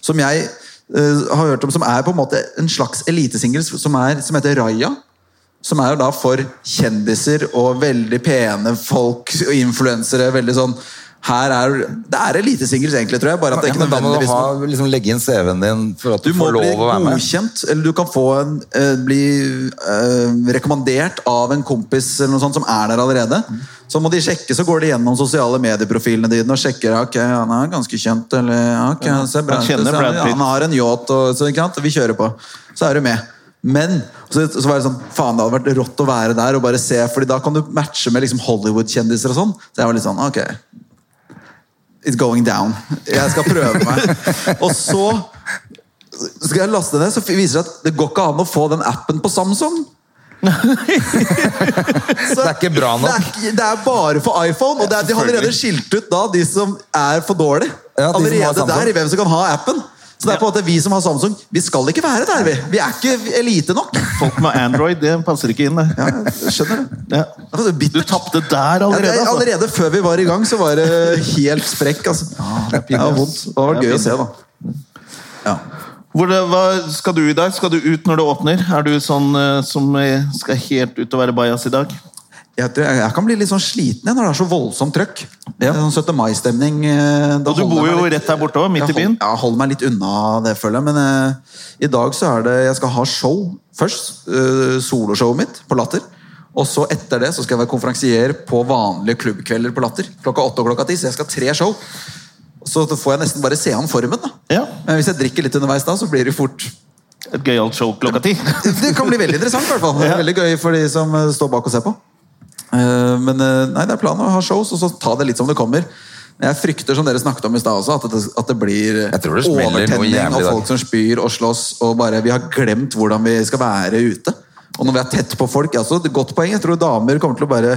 som jeg eh, har hørt om, som er på en måte en slags elitesingel, som, er- som heter Raya. Som er jo da for kjendiser og veldig pene folk og influensere. veldig sånn, her er, Det er elitesingels egentlig, tror jeg. bare at det Ja, er ikke men da må du nødvendigvis ha, liksom, legge inn CV-en din for at du du, må får bli lov å være med. godkjent, eller du kan få en, eh, bli eh, rekommendert av en kompis eller noe sånt som er der allerede. Så må de sjekke, så går de gjennom sosiale medieprofilene dine og sjekker ja, ok, han er ganske kjent. eller ja, ok, han, ser bra Han ut, kjenner så Brad Pitt. han har en yacht, og, så, ikke sant? vi kjører på. Så er du med. Men så, så var det sånn, faen det hadde vært rått å være der og bare se, fordi da kan du matche med liksom Hollywood-kjendiser og sånn. Så jeg var litt sånn, ok, It's going down. Jeg skal prøve meg. Og så skal jeg laste ned, så viser det at det går ikke an å få den appen på Samsung. Så Det er ikke bra nok. Det er, ikke- det er bare for iPhone, og det er, de har allerede skilt ut da de som er for dårlig. Ja, de som har allerede Samsung. der i hvem som kan ha appen. Så det er på en måte vi som har Samsung, vi skal ikke være der, vi. Vi er ikke elite nok. Folk med Android, det passer ikke inn. Det. Ja, jeg skjønner det. Ja. Det er så Du bittert. tapte der Ja, det allerede. er- Altså. Allerede før vi var i gang, så var det helt sprekk. Altså. Det pinlig, var ass. vondt. Det var Det er gøy å se, da. Ja. Hvor, det- hva skal du i dag? Skal du ut når det åpner? Er du sånn eh, som eh, skal helt ut og være bajas i dag? Jeg, tror- jeg kan bli litt sånn sliten jeg, når det er så voldsomt trøkk. Det er Sånn 17. mai-stemning. eh, da Og du holder bor jeg meg jo litt- rett her borte òg, midt jeg i byen. hold- Jeg holder meg litt unna det, føler jeg. Men eh, i dag så er det Jeg skal ha show først. eh, soloshowet mitt på Latter. Og så etter det så skal jeg være konferansier på vanlige klubbkvelder på Latter. Klokka åtte og klokka ti. Så jeg skal ha tre show. Så da får jeg nesten bare se an formen, da. Ja. Men hvis jeg drikker litt underveis da, så blir det fort Et gøyalt show klokka ti. det kan bli veldig interessant, i hvert fall. Det er Veldig gøy for de som eh, står bak og ser på. Eh, Men eh, nei, det er planen å ha shows og så ta det litt som det kommer. Men Jeg frykter som dere snakket om i sted også, at det, at det blir eh, Jeg tror det smeller noe jævlig i og dag. folk som spyr og slåss. og bare, Vi har glemt hvordan vi skal være ute. Og når vi er tett på folk altså, det er et Godt poeng. Jeg tror damer kommer til å bare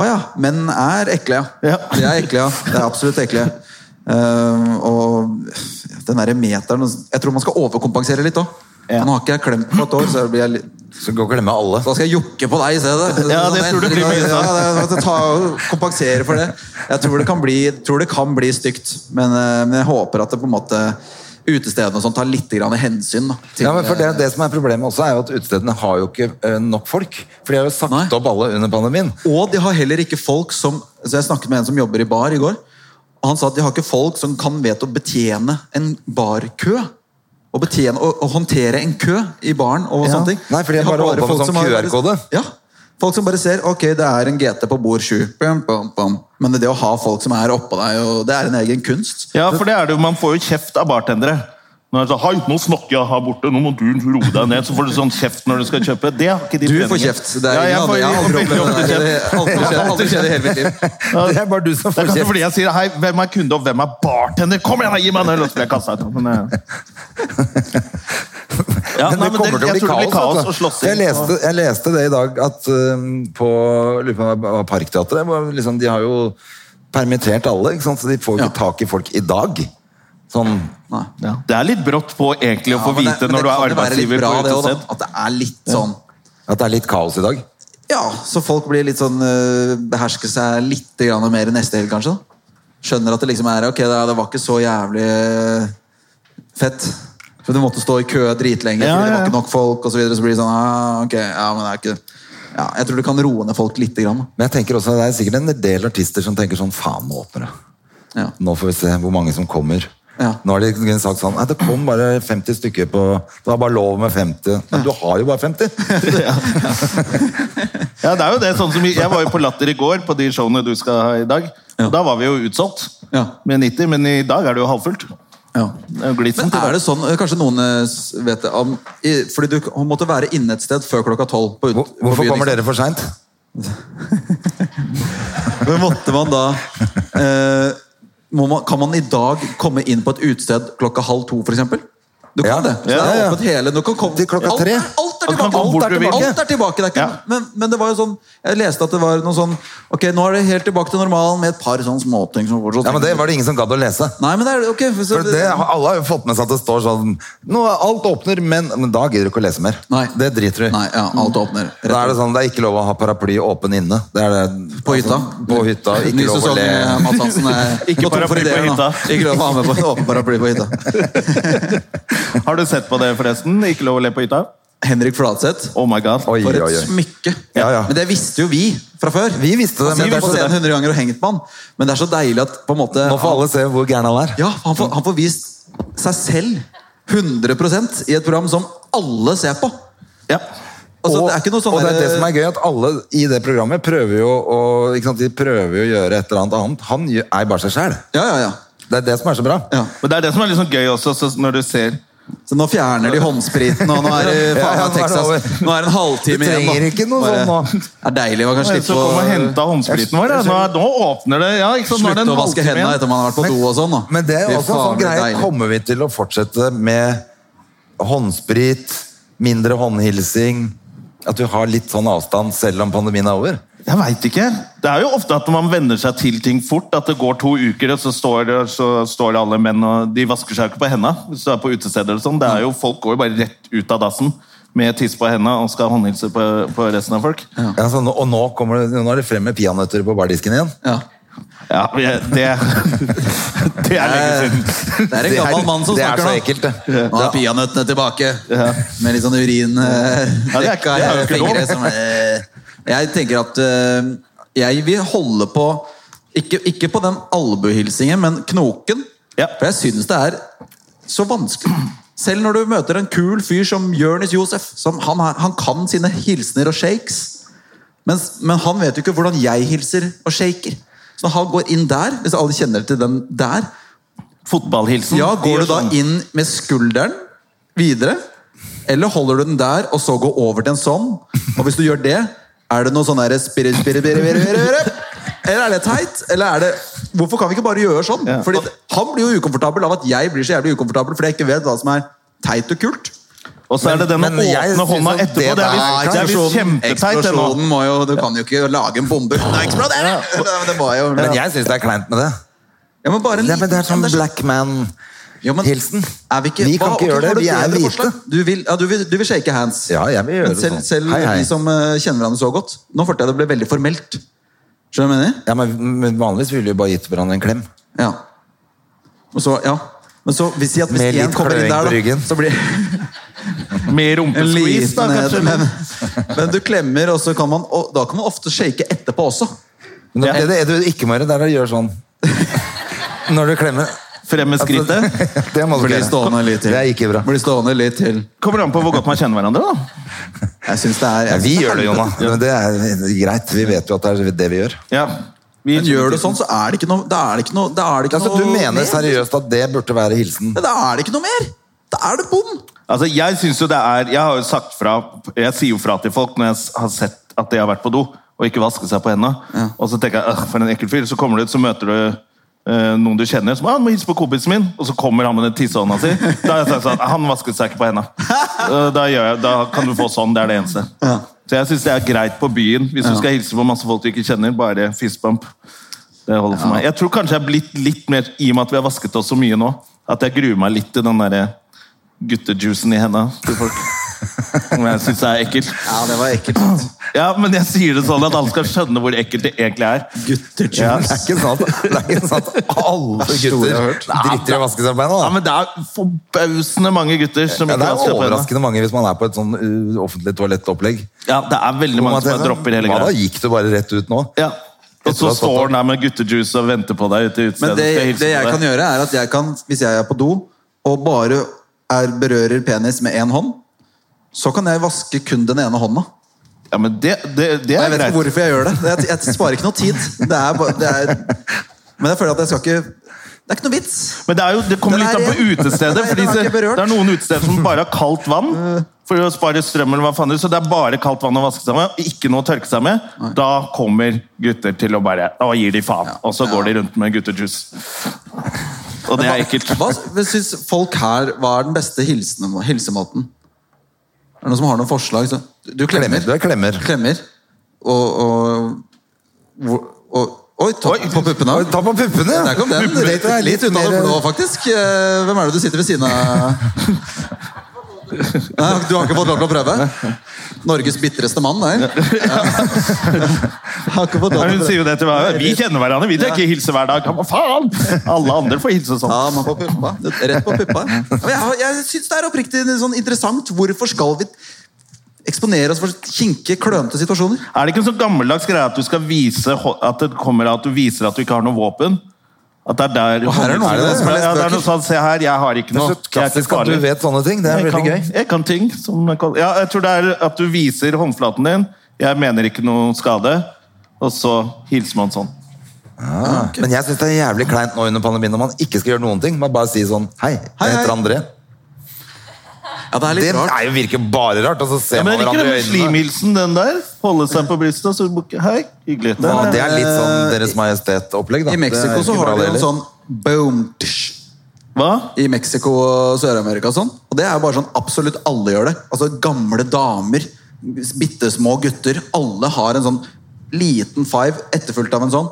Å ja, menn er ekle, ja. Ja. De er ekle, ja. Det er absolutt ekle. Eh, Eh, og den derre meteren Jeg tror man skal overkompensere litt òg. Ja. Nå har ikke jeg klemt på et år, så blir jeg litt Skal gå og glemme alle. da skal jeg jokke på deg i stedet. Ja, det tror jeg blir mye sånn. Ja, det- ta, kompensere for det. Jeg tror det kan bli, tror det kan bli stygt, men, eh, men jeg håper at det på en måte utestedene og sånn tar litt grann hensyn. Da, til- eh, Ja, men for det, det som er problemet også, er jo at utestedene har jo ikke eh, nok folk. For de har jo sagt Nei. opp alle under pandemien. Og de har heller ikke folk som så Jeg snakket med en som jobber i bar i går. og Han sa at de har ikke folk som kan vet å betjene en barkø. Å betjene, å, å håndtere en kø i baren og Ja. sånne ting. Nei, for de har bare holder på med folk sånn som har- QR-kode. Ja. Folk som bare ser ok, det er en GT på bord 7. Bam, bam, bam. Men det å ha folk som er oppå deg, og det er en egen kunst. Ja, for det er det jo, man får jo kjeft av bartendere. Når jeg sa, Hei, nå snakker jeg her borte, nå må du roe deg ned, så får du sånn kjeft når du skal kjøpe. Det har ikke de Du treningen. får kjeft. Det er ja, ingen jeg andre. får, Jeg har aldri veldig opplevd ofte det. der. kjeft. Det har aldri skjedd- aldri skjedd i hele mitt liv. Det er bare du som Det er får kanskje kjeft. fordi jeg sier hei, hvem er kunde og hvem er bartender? Kom igjen, da, gi meg en øl! Og så blir jeg kastet ut. Men, eh. ja, Men nei, men det, kommer til å jeg bli tror det blir kaos, kaos altså. vet du. og slåssing. Jeg leste, jeg leste det i dag at um, på lurer på om det var Parkteatret hvor liksom, De har jo permittert alle, ikke sant? så de får jo ikke tak i folk i dag. Sånn Ja. Det er litt brått på egentlig å Ja, få men det- vite men det når du kan er jo være litt arbeidsgiver på bra, det også, da. utested. At det er litt sånn at det er litt kaos i dag. Ja, så folk blir litt sånn øh, behersker seg litt grann mer neste helg, kanskje. da. Skjønner at det liksom er ok, det det var ikke så jævlig eh, fett. For du måtte stå i kø dritlenge Ja, fordi det ja, ja. var ikke nok folk. Og så, videre, så blir det sånn, ah, ok, ja, men det er ikke ja, Jeg tror det kan roe ned folk lite grann. da. Men jeg tenker også, det er sikkert en del artister som tenker sånn Faen, nå åpner det. Ja. Nå får vi se hvor mange som kommer. Ja. Nå har de kunne sagt sånn Nei, det kom bare 50 stykker på Det var bare lov med 50. Men du har jo bare 50! Ja, det er jo det. sånn som vi- Jeg var jo på Latter i går, på de showene du skal ha i dag. Ja. Da var vi jo utsolgt Ja. med 90, men i dag er det jo halvfullt. Ja. Det er jo Glitsen Men til er det sånn, øh, kanskje noen øh, s- vet det om, i, Fordi du k- måtte være inne et sted før klokka tolv. på ut- Hvor, på hvorfor byen, kommer dere liksom? ikke for seint? Men måtte man da eh, må man, Kan man i dag komme inn på et utested klokka halv to, for eksempel? Du kan Ja. det. Ja, Så det ja, er ja. åpent hele. Du kan komme, Til klokka alt, tre. Alt er Du kan tilbake. komme Alt hvor er du vil. tilbake. Alt er tilbake. Det er ikke, Ja. men, men det var jo sånn Jeg leste at det var noe sånn Ok, nå er det helt tilbake til normalen med et par sånne småting som fortsatt Ja, men Det var det ingen som gadd å lese. Nei, men det er ok. så- For det, alle har jo fått med seg at det står sånn Nå er alt åpner, men, men da gidder du ikke å lese mer. Nei. Det driter du i. Nei, ja, alt åpner. Da er det sånn, det er ikke lov å ha paraply åpen inne. Det er det, På hytta. på hytta. Ikke Ny lov å sesong le. med Mads Hansen. er- Ikke Nå tom for paraply på ideer nå. hytta. Ikke lov å ha med på åpen paraply på hytta. deg. Har du sett på det, forresten? Ikke lov å le på hytta? Henrik Fladseth. Oh my god. Oi, For oi, et oi. smykke. Ja, ja. Men det visste jo vi fra før. Vi visste det, Altså, men vi det er har så fått det- den 100 ganger og hengt på han. Men det er så deilig at på en måte Nå får alle se hvor gæren han er. Ja, han får, han får vist seg selv 100 i et program som alle ser på. Ja. Altså, og, det er ikke noe sånn og det er der- det som er gøy, at alle i det programmet prøver jo å, ikke sant, de prøver jo å gjøre et eller annet annet. Han gjør- er bare seg sjæl. Ja, ja, ja. Det er det som er så bra. ja. Men det er det som er litt sånn gøy også, så når du ser Så nå fjerner de håndspriten, og nå er det Ja, faen ja, meg nå er det over. Texas. Nå er det en halvtime Du igjen. da. trenger ikke noe Bare- sånn nå. Det er deilig. Man kan Så slippe kom og henta å håndspriten vår. ja. Nå, er- nå åpner det. Ja, ikke sant? Nå er det slutte en å vaske halvtime hendene igjen. etter man har vært på do og sånn. da. Men det er Fy også en faen, sånn det er greie. deilig. Kommer vi til å fortsette med håndsprit, mindre håndhilsing? At du har litt sånn avstand selv om pandemien er over? Jeg veit ikke. Det er jo ofte at man venner seg til ting fort. At det går to uker, og så står det, så står det alle menn og De vasker seg jo ikke på henda hvis du er på utesteder. og sånn. Det er jo, Folk går jo bare rett ut av dassen med tiss på henda og skal håndhilse på, på resten av folk. Ja, Ja, sånn, og nå, kommer det, nå er det frem med peanøtter på bardisken igjen. Ja. men jeg- det, det er lenge siden. Eh, Det er en gammel mann som det er så snakker altså nå. ekkelt, det. Nå er peanøttene tilbake. Med litt sånn Ja, det er ikke- urinrekka det er jo ikke fingre. lov. Som, eh, jeg tenker at eh, jeg vil holde på Ikke, ikke på den albuehilsingen, men knoken. Ja. For jeg syns det er så vanskelig. Selv når du møter en kul fyr som Jonis Josef. Som han, er- han kan sine hilsener og shakes. Mens, men han vet jo ikke hvordan jeg hilser og shaker. Så når han går inn der, hvis alle kjenner til den der, Fotballhilsen. ja, De gjør går du da sånn. inn med skulderen videre? Eller holder du den der, og så går over til en sånn? Og hvis du gjør det, er det noe sånn derre spirre, spirre, spirre, spirre, spirre, spirre? Eller er det teit? Eller er det Hvorfor kan vi ikke bare gjøre sånn? Ja. Fordi han blir jo ukomfortabel av at jeg blir så jævlig ukomfortabel fordi jeg ikke vet hva som er teit og kult. Og så er det den å Men- men jeg åpne synes hånda at det etterpå. Det der- er visst- det er visst Eksplosjonen, kjempeteit. det nå. sånn eksplosjonen må jo Du kan jo ikke lage en bombe uten å eksplodere! Det var jo Men jeg syns det er kleint med det. Ja, men bare en Nei, men det er sånn liten- black man Ja, men- Hilsen. Er vi, ikke, Vi kan Hva- ikke ok, gjøre det, har du vi er bedre hvite. forslag? Du vil, ja, du, vil, du vil shake hands. Ja, jeg vil gjøre men selv, sånn. selv Hei, hei. de som eh, kjenner hverandre så godt. Nå følte jeg det ble veldig formelt. Skjønner du hva jeg mener? Ja, men, men vanligvis ville vi bare gitt hverandre en klem. Ja. Og så, ja. Men så, vi sier at hvis Med én litt kommer inn kløing på der, da, ryggen. så blir Med en rumpesqueeze, da, liten eh, kanskje. men, men du klemmer, og så kan man og da kan man ofte shake etterpå også. Men Ja. det, det, det du ikke må gjøre, det er å gjøre sånn når du klemmer. Altså, Frem med Altså, skrittet. Det må du Blir ikke gjøre. stående litt til. Det er ikke bra. Blir stående litt til. Kommer an på hvor godt man kjenner hverandre. da. Jeg syns det er Ja, jeg vi synes gjør det, er- Jonna. Men det er greit. Vi vet jo at det er det vi gjør. Ja. Vi Men gjør du sånn, så er det ikke noe Da er det ikke noe, da er det ikke Altså, noe du mener mer. seriøst at det burde være hilsen? Men Da er det ikke noe mer! Da er det bom! Altså, jeg synes jo det er, jeg har jo sagt fra, jeg sier jo fra til folk når jeg s- har sett at de har vært på do, og ikke vasket seg på hendene. Og så tenker jeg, «Åh, for en ekkel fyr, så kommer du ut, så møter du eh, noen du kjenner, som, ah, han må hilse på kompisen min, og så kommer han med den tissehånda si. Da har jeg sagt sånn, han vasket seg ikke på hendene. Eh, Da, gjør jeg, da kan du få sånn, det er det eneste. Så jeg synes det er greit på byen, hvis du skal hilse på masse folk du ikke kjenner, bare fistbump. Det holder for meg. Jeg tror kanskje jeg er blitt litt mer, i og med at vi har vasket oss så mye nå, at jeg gruer meg litt til den der eh, guttejuicen i henda til folk. Som jeg syns er ekkelt. Ja, det var ekkelt. Ja, men jeg sier det sånn at alle skal skjønne hvor ekkelt det egentlig er. Guttejuice. Ja. Det er ikke sånn at, det er ikke sånn at alle jeg gutter har hørt. driter i å vaske seg på Ja, hendene. da. men Det er forbausende mange gutter som Ja, ikke det er vasker på hendene. overraskende mange hvis man er på et sånn uh, offentlig toalettopplegg. Ja, det er veldig mange som bare dropper hele Hva da, greia. gikk du bare rett ut nå? Ja. Og så står han der med guttejuice og venter på deg ute i utestedet. Men det, Skal hilse det jeg på kan deg. gjøre, er at jeg kan, hvis jeg er på do og bare er, berører penis med én hånd, så kan jeg vaske kun den ene hånda. Ja, men det, det, det er Og jeg vet greit. ikke hvorfor jeg gjør det. Jeg, jeg sparer ikke noe tid. Det er, bare- det er, men jeg føler at jeg skal ikke Det er ikke noe vits. Men det, er jo, det kommer Den litt er an på ren. utestedet. Nei, fordi den har det, ikke berørt. det er noen utesteder som bare har kaldt vann for å spare strøm. eller hva faen det er, Så det er bare kaldt vann å vaske seg med. Ikke noe å tørke seg med. Da kommer gutter til å bare Da gir de faen. Og så går de rundt med guttejuice. Og det er ekkelt. Hva syns folk her Hva er den beste hilsen, hilsemåten? Er det noen som har noen forslag? Så, du Klemmer. klemmer. Du er klemmer. Klemmer. Og, og, hvor- og Oi, ta på puppene. Oi, ta på puppene, ja. Der kom den. Puppene. Rett deg litt unna det blå, faktisk. Eh, Hvem er det du sitter ved siden av? Nei, du har ikke fått lov til å prøve? Norges bitreste mann, nei. Ja. Har ikke fått lov til å Hun prøve. sier jo det til meg. Vi kjenner hverandre. Vi trenger ikke hilse hver dag. Ja, men faen! Alle andre får hilse sånn. Ja, man får puppa. Rett på puppa. Men jeg, har- jeg syns det er oppriktig sånn interessant. Hvorfor skal vi eksponere oss for kinke, klønete situasjoner? Er det ikke en sånn gammeldags greie at du skal vise hå- at det kommer at du viser at du ikke har noe våpen? At det er der her er det noen som har lest ja, det er bøker. noe sånn, Se her, jeg har ikke Det noe. er så klassisk at du vet sånne ting. Det er jeg, veldig gøy. kan, jeg kan ting som Ja, jeg tror det er at du viser håndflaten din. Jeg mener ikke noe skade. Og så hilser man sånn. Men jeg syns det er jævlig kleint nå under pandemien når man ikke skal gjøre noen ting. Man bare sier sånn Hei, Hei, jeg heter hei. André. Ja, det er Det litt rart. er jo virker bare rart. Og så ser Ja, men man jeg liker den hverandre i øynene. muslimhilsen, den der. Holde seg på brystet og så bukke Hei, hyggelig. Ja, Der, det er- er litt sånn Deres Majestet-opplegg, da. I Mexico så har de en en sånn boom tsh, Hva? i Mexico og Sør-Amerika og sånn. Og det er bare sånn absolutt alle gjør det. Altså gamle damer, bitte små gutter. Alle har en sånn liten five etterfulgt av en sånn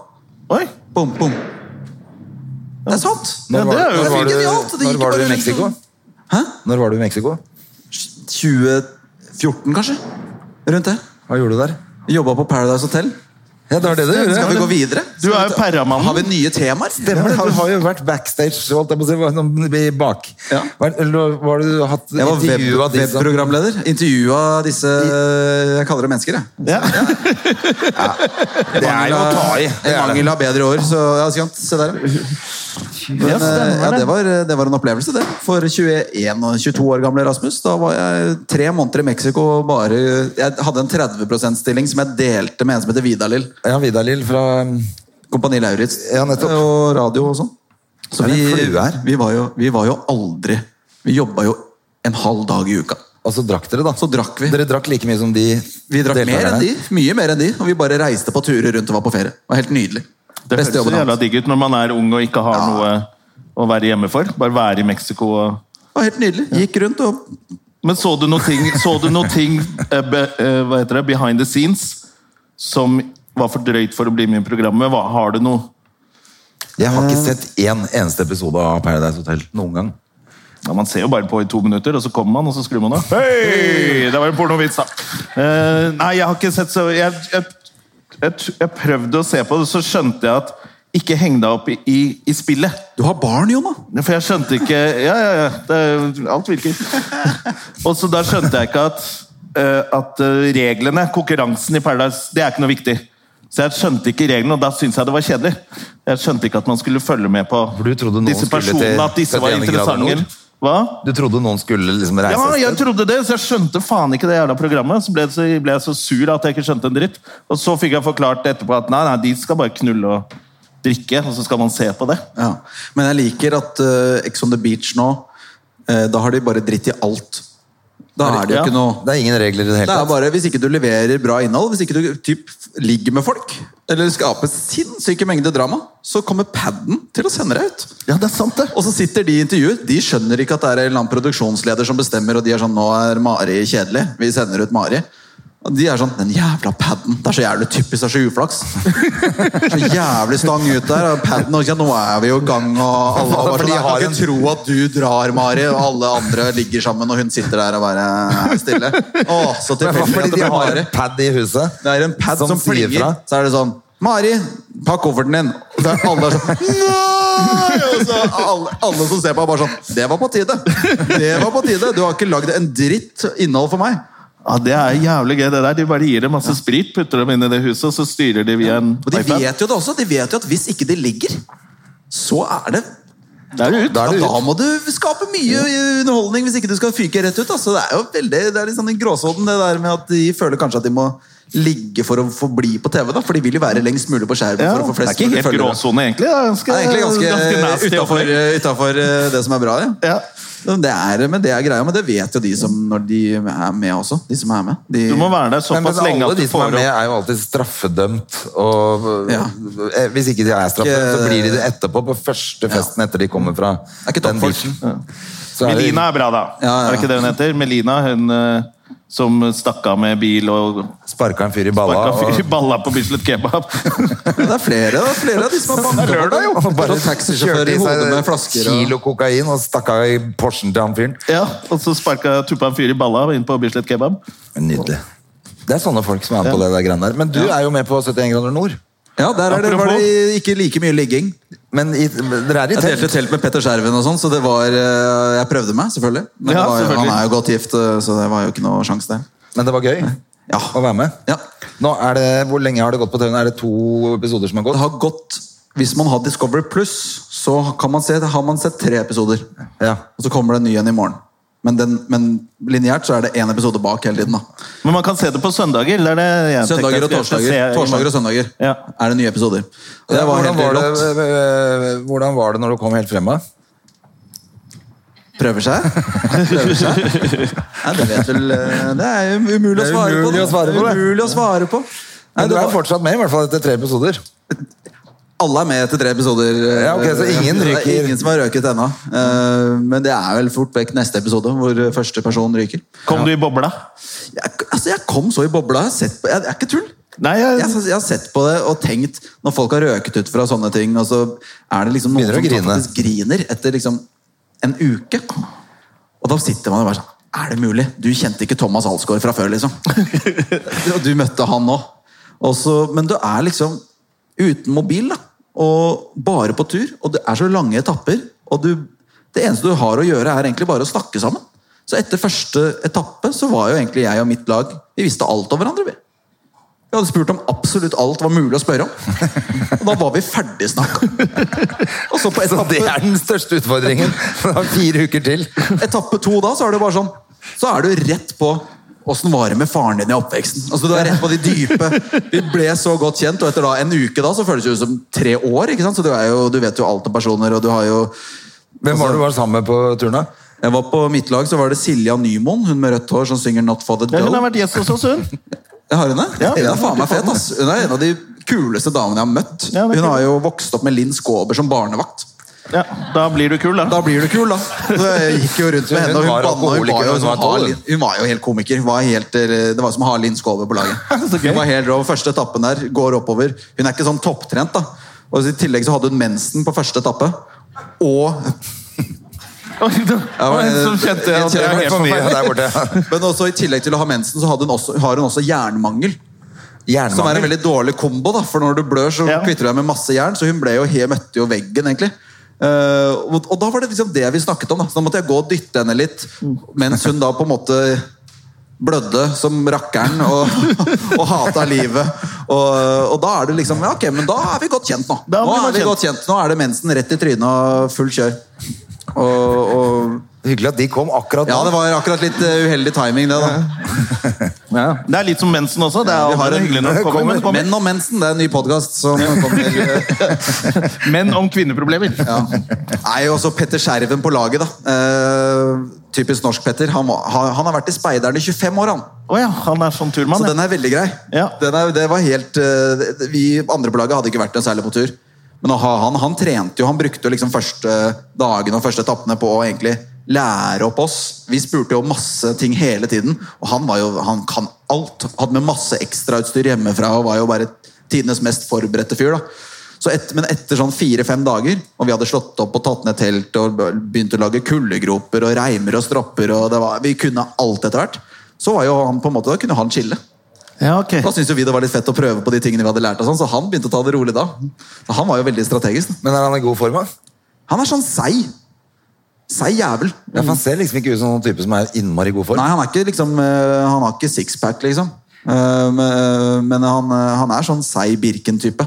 Oi! bom, bom. Det er sant! Ja, det er jo Når var Det er du, genialt, det gikk når var du bare i Mexico? liksom- Hæ? Når var du i Mexico? 2014, kanskje? Rundt det. Hva gjorde du der? Jobba på Paradise Hotel. Ja, det var det du gjorde. Skal vi gå videre? Du er jo perramannen. Har vi nye temaer? Stemmer det. Du har jo vært backstage, holdt jeg på å si, var noen i bak. Ja. Var, eller var du hatt Jeg var web- intervju av de som webprogramleder. Intervjua disse eh, Jeg kaller det mennesker, jeg. Ja. Det er jo å ta i. I mangel av bedre år, så ja, ikke sant? Se der. Men, Ja, stemmer eh, ja, det. det, var, det var en opplevelse, det. For 21 og 22 år gamle Rasmus. Da var jeg tre måneder i Mexico og bare Jeg hadde en 30 %-stilling som jeg delte med en som heter Vidalil. Ja, Vidar Lill fra um, Kompani Lauritz. Ja, nettopp. Og radio og sånn. Så Er det vi, en flue her? vi, var jo, vi var jo aldri Vi jobba jo en halv dag i uka. Og så drakk dere, da. Så drakk vi. Dere drakk like mye som de Vi drakk mer deltakerne. enn de, mye mer enn de, og vi bare reiste på turer rundt og var på ferie. Det var helt nydelig. Det Beste høres jobben så jævla hans. digg ut når man er ung og ikke har noe å være hjemme for. Bare være i Mexico og Det var helt nydelig. Gikk rundt og Men så du noe ting, så du noe ting eh, be, eh, hva heter det, behind the scenes som var for drøyt for å bli med i programmet? Hva, har du noe? Jeg har Eh. ikke sett én eneste episode av Paradise Hotel noen gang. Ja, man ser jo bare på i to minutter, og så kommer man, og så skrur man av. Hei! Det var en pornovits, da. Eh, nei, jeg har ikke sett så jeg, jeg, jeg, t- jeg prøvde å se på det, så skjønte jeg at ikke heng deg opp i, i, i spillet. Du har barn, Jonna! For jeg skjønte ikke Ja, ja, ja. Det, alt virker. Og så da skjønte jeg ikke at, eh, at eh, reglene, konkurransen i Paradise, det er ikke noe viktig. Så jeg skjønte ikke reglene, og da syntes jeg det var kjedelig. Jeg skjønte ikke at man skulle følge med på For du trodde noen disse skulle til personene, at disse var 71 grader interessante. nord? Hva? Du trodde noen skulle liksom reise Ja, et jeg sted? trodde det, så jeg skjønte faen ikke det jævla programmet. Så ble, så ble jeg så sur at jeg ikke skjønte en dritt. Og så fikk jeg forklart etterpå at nei, nei, de skal bare knulle og drikke, og så skal man se på det. Ja. Men jeg liker at eh, Ex on the Beach nå eh, Da har de bare dritt i alt. Da er det jo Ja. ikke noe Det er ingen regler i det hele Det er tatt. bare Hvis ikke du leverer bra innhold, hvis ikke du typ, ligger med folk, eller skaper sinnssyke mengder drama, så kommer paden til å sende deg ut. Ja, det er sant, det. Og så sitter de i intervjuet. De skjønner ikke at det er en eller annen produksjonsleder som bestemmer, og de er sånn 'Nå er Mari kjedelig. Vi sender ut Mari'. Og de er sånn 'Den jævla paden. Det er så jævlig typisk. Det er så uflaks'. Så jævlig stang ut der. Og paden og ja, 'Nå er vi jo i gang', og alle og bare For de sånn, 'Jeg har kan en- ikke tro at du drar, Mari', og alle andre ligger sammen, og hun sitter der og bare er stille. Å, så Men tilfeldig fordi at de det ble har Mari. en pad i huset Det er en pad som, sier plinger. fra. Så er det sånn Mari, pakk kofferten din. Og så er alle sånn Nei! Og så er alle, alle som ser på, er bare sånn Det var på tide. Det var på tide. Du har ikke lagd en dritt innhold for meg. Ja, Det er jævlig gøy, det der. De bare gir dem masse sprit, putter dem inn i det huset, og så styrer de via en Og de iPad. vet jo det også. De vet jo at hvis ikke de ligger, så er det Da er det ut. ja, da må du skape mye underholdning hvis ikke du skal fyke rett ut. Da. Så det er jo veldig, det er litt sånn i gråsonen det der med at de føler kanskje at de må ligge for å få bli på TV. da, For de vil jo være lengst mulig på skjermen. Ja, for å få det er flest ikke mulig helt følgere. gråsone, egentlig. Det er ganske, Det er egentlig ganske, eh, nasty utenfor, opplegg. utenfor, eh, det som er bra, ja. Ja. Men Det er, men det er greia, men det vet jo de som når de er med også. De som er med. De, Du må være der Nei, men såpass lenge alle at de du som er får med, opp er jo alltid straffedømt. Og Ja. eh, Hvis ikke de er straffedømt, så Ikke- blir de det etterpå, på første festen etter de kommer fra er ikke den toppfolk. beachen. Så er det- Melina er bra, da. Ja, ja. Er det ikke det hun heter? Melina, hun eh, som stakk av med bil og Sparka en fyr i balla. sparka fyr i og- balla på Bislett Kebab. det er flere, det er flere av de som har banket opp. lørdag, jo. Og Bare Bare taxisjåfør kjørte i i hodet seg med flasker. Og, Kilo kokain og stakk av i Porschen til han fyren. ja, Og så sparka tuppa en fyr i balla inn på Bislett Kebab. Nydelig. Det er sånne folk som er med på det der greiene der. Men du er jo med på 71 grader nord. ja, der er det, var det ikke like mye ligging. Men i, dere er i Jeg delte telt. telt med Petter Skjerven og sånn, så det var eh, Jeg prøvde meg, selvfølgelig. Men Ja, det var, selvfølgelig. han er jo godt gift, eh, så det var jo ikke noe sjanse der. Men det var gøy Ja. å være med. Ja. Nå er det, Hvor lenge har det gått på TV? Er det to episoder som har Det gått? har gått Hvis man har Discovery Pluss, så kan man se, har man sett tre episoder. Ja. Og så kommer det en ny en i morgen. Men, den, men lineært så er det én episode bak hele tiden. da. Men man kan se det på søndager. Det er det jeg tenkte jeg Søndager og skulle torsdager se i Torsdager og morgen. søndager Ja. er det nye episoder. Og det var hvordan, helt var rått. det, øh, hvordan var det når du kom helt fremme? Prøver seg? Prøver seg? Nei, det vet vel eh, Det er jo Det umulig å er svare på. umulig da. å svare på, det. Umulig å svare på. Nei, Men du det er var- fortsatt med, i hvert fall etter tre episoder. Alle er med etter tre episoder. eh, Ja, ok, så ingen det er ryker. Ingen som har røket ennå. Eh, Men det er vel fort vekk neste episode, hvor eh, første person ryker. Kom du i bobla? Jeg, altså, jeg kom så i bobla. Jeg, har sett på, jeg, jeg er ikke tull. Nei, jeg- jeg, jeg har sett på det og tenkt Når folk har røket ut fra sånne ting, og så er det liksom noen Begynner å som grine. faktisk griner etter liksom en uke. Og da sitter man og bare sånn Er det mulig? Du kjente ikke Thomas Alsgaard fra før, liksom. og du møtte han nå. Og så- Men du er liksom uten mobil, da. Og bare på tur. Og det er så lange etapper. Og du, det eneste du har å gjøre, er egentlig bare å snakke sammen. Så etter første etappe så var jo egentlig jeg og mitt lag Vi visste alt om hverandre. vi. Vi hadde spurt om absolutt alt var mulig å spørre om. Og da var vi ferdig snakka. Og så på Så etappe, det er den største utfordringen. Det er fire uker til. etappe to da, så er det bare sånn Så er du rett på åssen var det med faren din i oppveksten. Altså Du er rett på de dype. Vi ble så godt kjent, og etter da en uke da, så føles det ut som tre år. ikke sant? Så du, er jo, du vet jo alt om personer, og du har jo Hvem var det du var sammen med på turen, da? Jeg var På mitt lag så var det Silja Nymoen, hun med rødt hår, som synger 'Not for the Ja, hun Dough'. har vært gjest hos oss, hun. Jeg har henne. Ja, hun ja, er faen meg fet, ass. Hun er en av de kuleste damene jeg har møtt. Ja, det er hun har kult. jo vokst opp med Linn Skåber som barnevakt. Ja, da blir du kul, da. Da blir du kul, da. Så jeg gikk jo rundt med henne, og Hun hun var banna. Hun, alkoholiker var jo da hun som var å ha tolv. Linn- hun var jo helt komiker. Hun Var helt, eh, det var som å ha Linn Skåber på laget. Så gøy. Hun var helt rå. Første etappen der går oppover. Hun er ikke sånn topptrent, da. Og I tillegg så hadde hun mensen på første etappe. Og det var en som kjente at jeg er helt for mye forferdelig. der borte. Men også i tillegg til å ha mensen, så hadde hun også, har hun også jernmangel. Som er en Jernmangel. veldig dårlig kombo, da, for når du blør, så Ja. kvitter du deg med masse jern. Så hun ble jo helt møtte jo veggen, egentlig. Eh, og, og da var det liksom det vi snakket om. Da. Så da måtte jeg gå og dytte henne litt, mens hun da på en måte blødde som rakkeren og, og hata livet. Og, og da er det liksom Ja, ok, men da er vi godt kjent nå. Da Nå blir man er vi kjent. godt kjent. Nå er det mensen rett i trynet og full kjør. Og, og Hyggelig at de kom akkurat Ja, nå. det var akkurat litt eh, uheldig timing, det, da. Ja. Det er litt som mensen også. Det er Vi har alltid en- hyggelig når det kommer, men det kommer. Menn og mensen, det er en ny podkast som kommer. Men om kvinneproblemer. Ja. Nei, også Petter Skjerven på laget, da. Eh, typisk norsk Petter. Han, var, han han har vært i Speideren i 25 år, han. Å ja, han er sånn Så turmann. ja. den er veldig grei. Ja. Den er, det var helt eh, det- Vi andre på laget hadde ikke vært noe særlig på tur. Men å ha han, han trente jo, han brukte jo liksom første dagene og første etappene på å egentlig lære opp oss. Vi spurte jo om masse ting hele tiden, og han var jo, han kan alt. Hadde med masse ekstrautstyr hjemmefra og var jo bare tidenes mest forberedte fyr. da. Så et, men etter sånn fire-fem dager, og vi hadde slått opp og tatt ned telt og begynt å lage kuldegroper og reimer og stropper, og det var, vi kunne alt etter hvert, så var jo han på en måte, da kunne han chille. Ja, ok. Da syntes jo vi det var litt fett å prøve på de tingene vi hadde lært, og sånn, så han begynte å ta det rolig da. Så han var jo veldig strategisk. da. Men er han i god form? da? Han er sånn seig. Seig jævel. Ja, for Han ser liksom ikke ut som noen type som er innmari i god form. Nei, han er ikke liksom eh, Han har ikke sixpack, liksom. Eh, Men men han, eh, han er sånn seig Birken-type.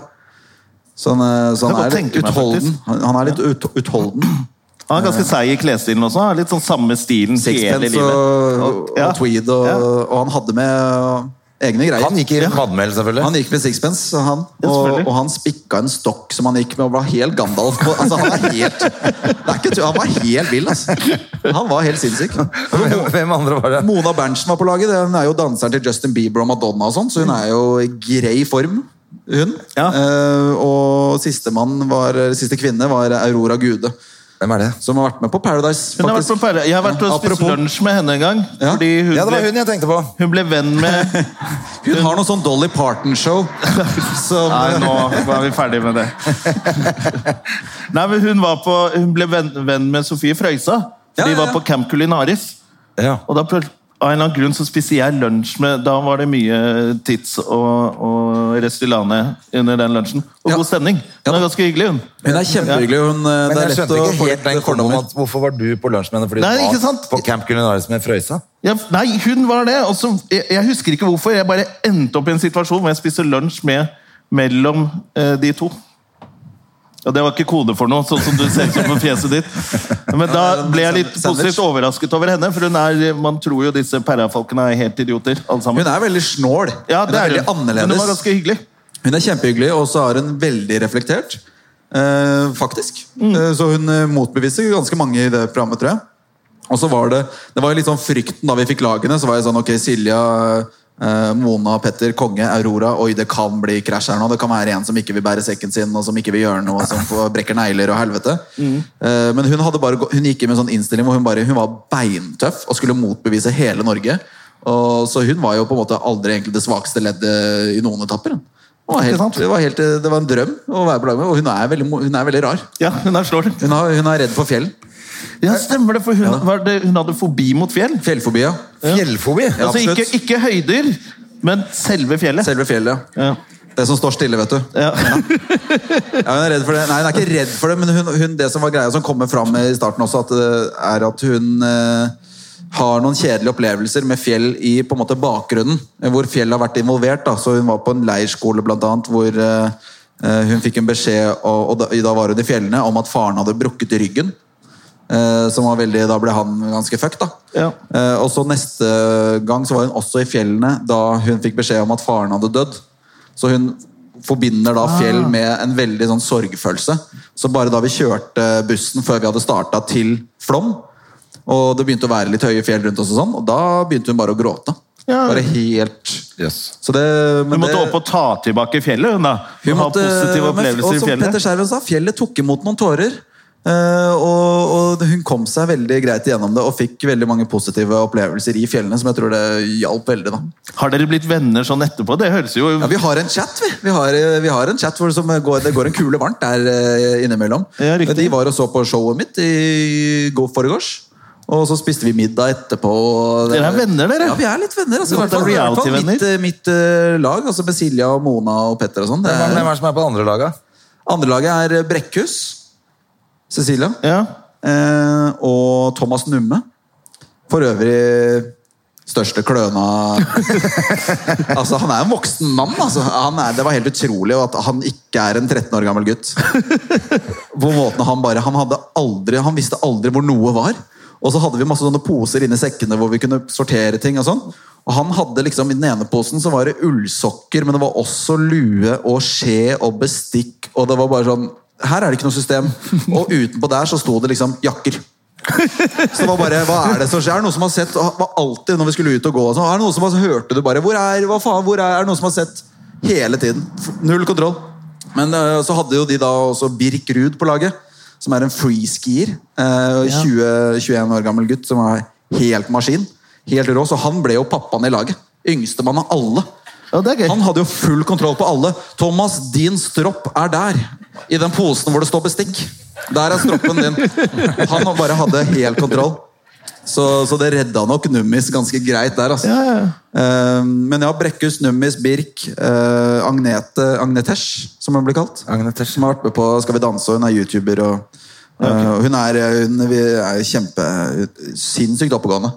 Så han, eh, så Jeg kan han er godt litt tenke meg, utholden. faktisk. Han han er litt ut, utholden. Han er ganske seig i klesstilen også. Har litt sånn samme stilen hele Sixpence livet. og, Og- ja. og tweed, og, Ja. og han hadde med eh, egne greier. Han gikk i vannmel, selvfølgelig. Han gikk med sixpence, så han, Ja, og, selvfølgelig. og han spikka en stokk som han gikk med og var helt Gandalf på. Altså, han, er helt, det er ikke, tu- han var helt vill, altså. Han var helt sinnssyk. Hvem, hvem andre var det? Mona Berntsen var på laget. Hun er jo danseren til Justin Bieber og Madonna, og sånt, så hun er jo i grei form. Hun. Ja. Eh, og sistemann var, siste kvinne var Aurora Gude, Hvem er det? som har vært med på Paradise. Hun har vært på faktisk. Perle. Jeg har vært og spist Apropos, lunsj med henne en gang. Ja. Fordi hun, Ja, det var ble, hun jeg tenkte på. hun ble venn med Hun har noe sånn Dolly Parton-show. som- Nei, nå var vi ferdig med det. Nei, men hun, var på, hun ble venn, venn med Sofie Frøysa. Ja, For de ja, var ja. på Camp Culinaris. Ja. Og da prøv- av en eller annen grunn så spiste jeg lunsj med Da var det mye Tits og, og Restylane under den lunsjen. Og Ja. god stemning. Hun er ganske hyggelig, hun. Hun er kjempehyggelig. Hun, eh, Men det er jeg lett skjønte å få ikke helt litt den fordommer. fordommen at hvorfor var du på lunsj med henne fordi Nei, du ikke var sant? på Camp Culinaris med Frøysa? Ja, nei, hun var det. Og så- jeg, jeg husker ikke hvorfor. Jeg bare endte opp i en situasjon hvor jeg spiste lunsj med mellom eh, de to. Ja, Det var ikke kode for noe, sånn som du ser ut som på fjeset ditt. Men da ble jeg litt positivt overrasket over henne, for hun er, man tror jo disse pærafolkene er helt idioter. alle sammen. Hun er veldig snål. ja, hun det er er veldig hun. Men hun var annerledes. ganske hyggelig. Hun er kjempehyggelig, og så er hun veldig reflektert. Eh, faktisk. Mm. Eh, så hun eh, motbeviser ganske mange i det programmet, tror jeg. Og så var det Det var jo litt sånn frykten da vi fikk lagene. Så var jeg sånn Ok, Silja, eh, Mona, Petter, Konge, Aurora. Oi, det kan bli krasj her nå. Det kan være en som ikke vil bære sekken sin, og som ikke vil gjøre noe, og som får- brekker negler og helvete. Mm. Eh, men hun, hadde bare, gå- hun gikk inn med en sånn innstilling hvor hun, bare, hun var beintøff og skulle motbevise hele Norge. Og, så hun var jo på en måte aldri egentlig det svakeste leddet i noen etapper. hun. Det var, helt, det, var helt, det var en drøm å være på lag med, og hun er veldig, mo- hun er veldig rar. Ja, hun er slår. Hun, har, hun er redd for fjell. Eh, Ja, stemmer det, for hun, var det, hun hadde fobi mot fjell. Fjellfobi, ja. Fjellfobi? Ja, altså, ikke, absolutt. ikke høyder, men selve fjellet. Selve fjellet. ja. Ja. Det som står stille, vet du. Ja. Ja, hun er redd for det. Nei, hun er ikke redd for det, men hun, hun, det som var greia som kommer fram i starten også, at, eh, er at hun eh, har noen kjedelige opplevelser med fjell i på en måte bakgrunnen, eh, hvor fjell har vært involvert. Da. Så hun var på en leirskole blant annet, hvor eh, eh, hun fikk en beskjed, og, og da, da var hun i fjellene, om at faren hadde brukket ryggen. Eh, som var veldig, da ble han ganske fucked, da. Ja. Eh, og så neste gang så var hun også i fjellene da hun fikk beskjed om at faren hadde dødd. Så hun forbinder da Ah. fjell med en veldig sånn sorgfølelse. Så bare da vi kjørte bussen før vi hadde starta til Flom, og det begynte å være litt høye fjell rundt oss, og sånn, og da begynte hun bare å gråte. Ja. Bare helt Yes. så det, men Hun måtte det- opp og ta tilbake fjellet, hun da. Hun, hun har måtte- positive men- opplevelser og i som Petter fjellet. Skjerven sa, fjellet tok imot noen tårer. Eh, og, og hun kom seg veldig greit igjennom det og fikk veldig mange positive opplevelser i fjellene, som jeg tror det hjalp veldig. da. Har dere blitt venner sånn etterpå? Det høres jo Ja, Vi har en chat, vi. Vi har, eh, vi har en chat hvor det, som eh, går, det går en kule varmt der eh, innimellom. Ja, riktig. De var og så på showet mitt i går foregårs. Og så spiste vi middag etterpå. og det- Dere er venner, dere. Ja, vi er litt venner. Altså, Dere i er hvert fall, i hvert fall reality-venner. mitt, eh, mitt eh, lag, altså med Silja og Mona og Petter og sånn. det Hvem er er- hvem er det som er på det andre laget? Andre laget er eh, Brekkhus. Cecilia. Ja. Eh, og Thomas Numme. For øvrig største kløna Altså, han er en voksen mann. Altså. Han er, det var helt utrolig at han ikke er en 13 år gammel gutt. På måten Han bare, han, hadde aldri, han visste aldri hvor noe var. Og så hadde vi masse sånne poser inni sekkene hvor vi kunne sortere ting. og sånn. Og han hadde liksom, I den ene posen så var det ullsokker, men det var også lue og skje og bestikk. Og det var bare sånn Her er det ikke noe system. Og utenpå der så sto det liksom jakker. Så det var bare, hva er det som skjer? Er det noen som har sett og var alltid når vi skulle ut og gå og sånn, er det noen som har, hørte du bare, hvor er, hva faen, hvor er, er det noen som har sett? Hele tiden. F- Null kontroll. Men øh, så hadde jo de da også Birk Rud på laget, som er en freeskier. øh, 20 21 år gammel gutt som er helt maskin. Helt rå, så han ble jo pappaen i laget. Yngstemann av alle. Ja, det er gøy. Han hadde jo full kontroll på alle. Thomas, din stropp er der. I den posen hvor det står bestikk. Der er stroppen din. Han bare hadde helt kontroll. Så, så det redda nok Nummis ganske greit der, altså. Ja, ja, ja. Eh, men ja, Brekkhus, Nummis, Birk, eh, Agnete Agnetesh, som hun blir kalt. Agnetesh. Som har vært med på Skal vi danse, og hun er youtuber. Og, eh, Hun er, hun er kjempe sinnssykt oppegående.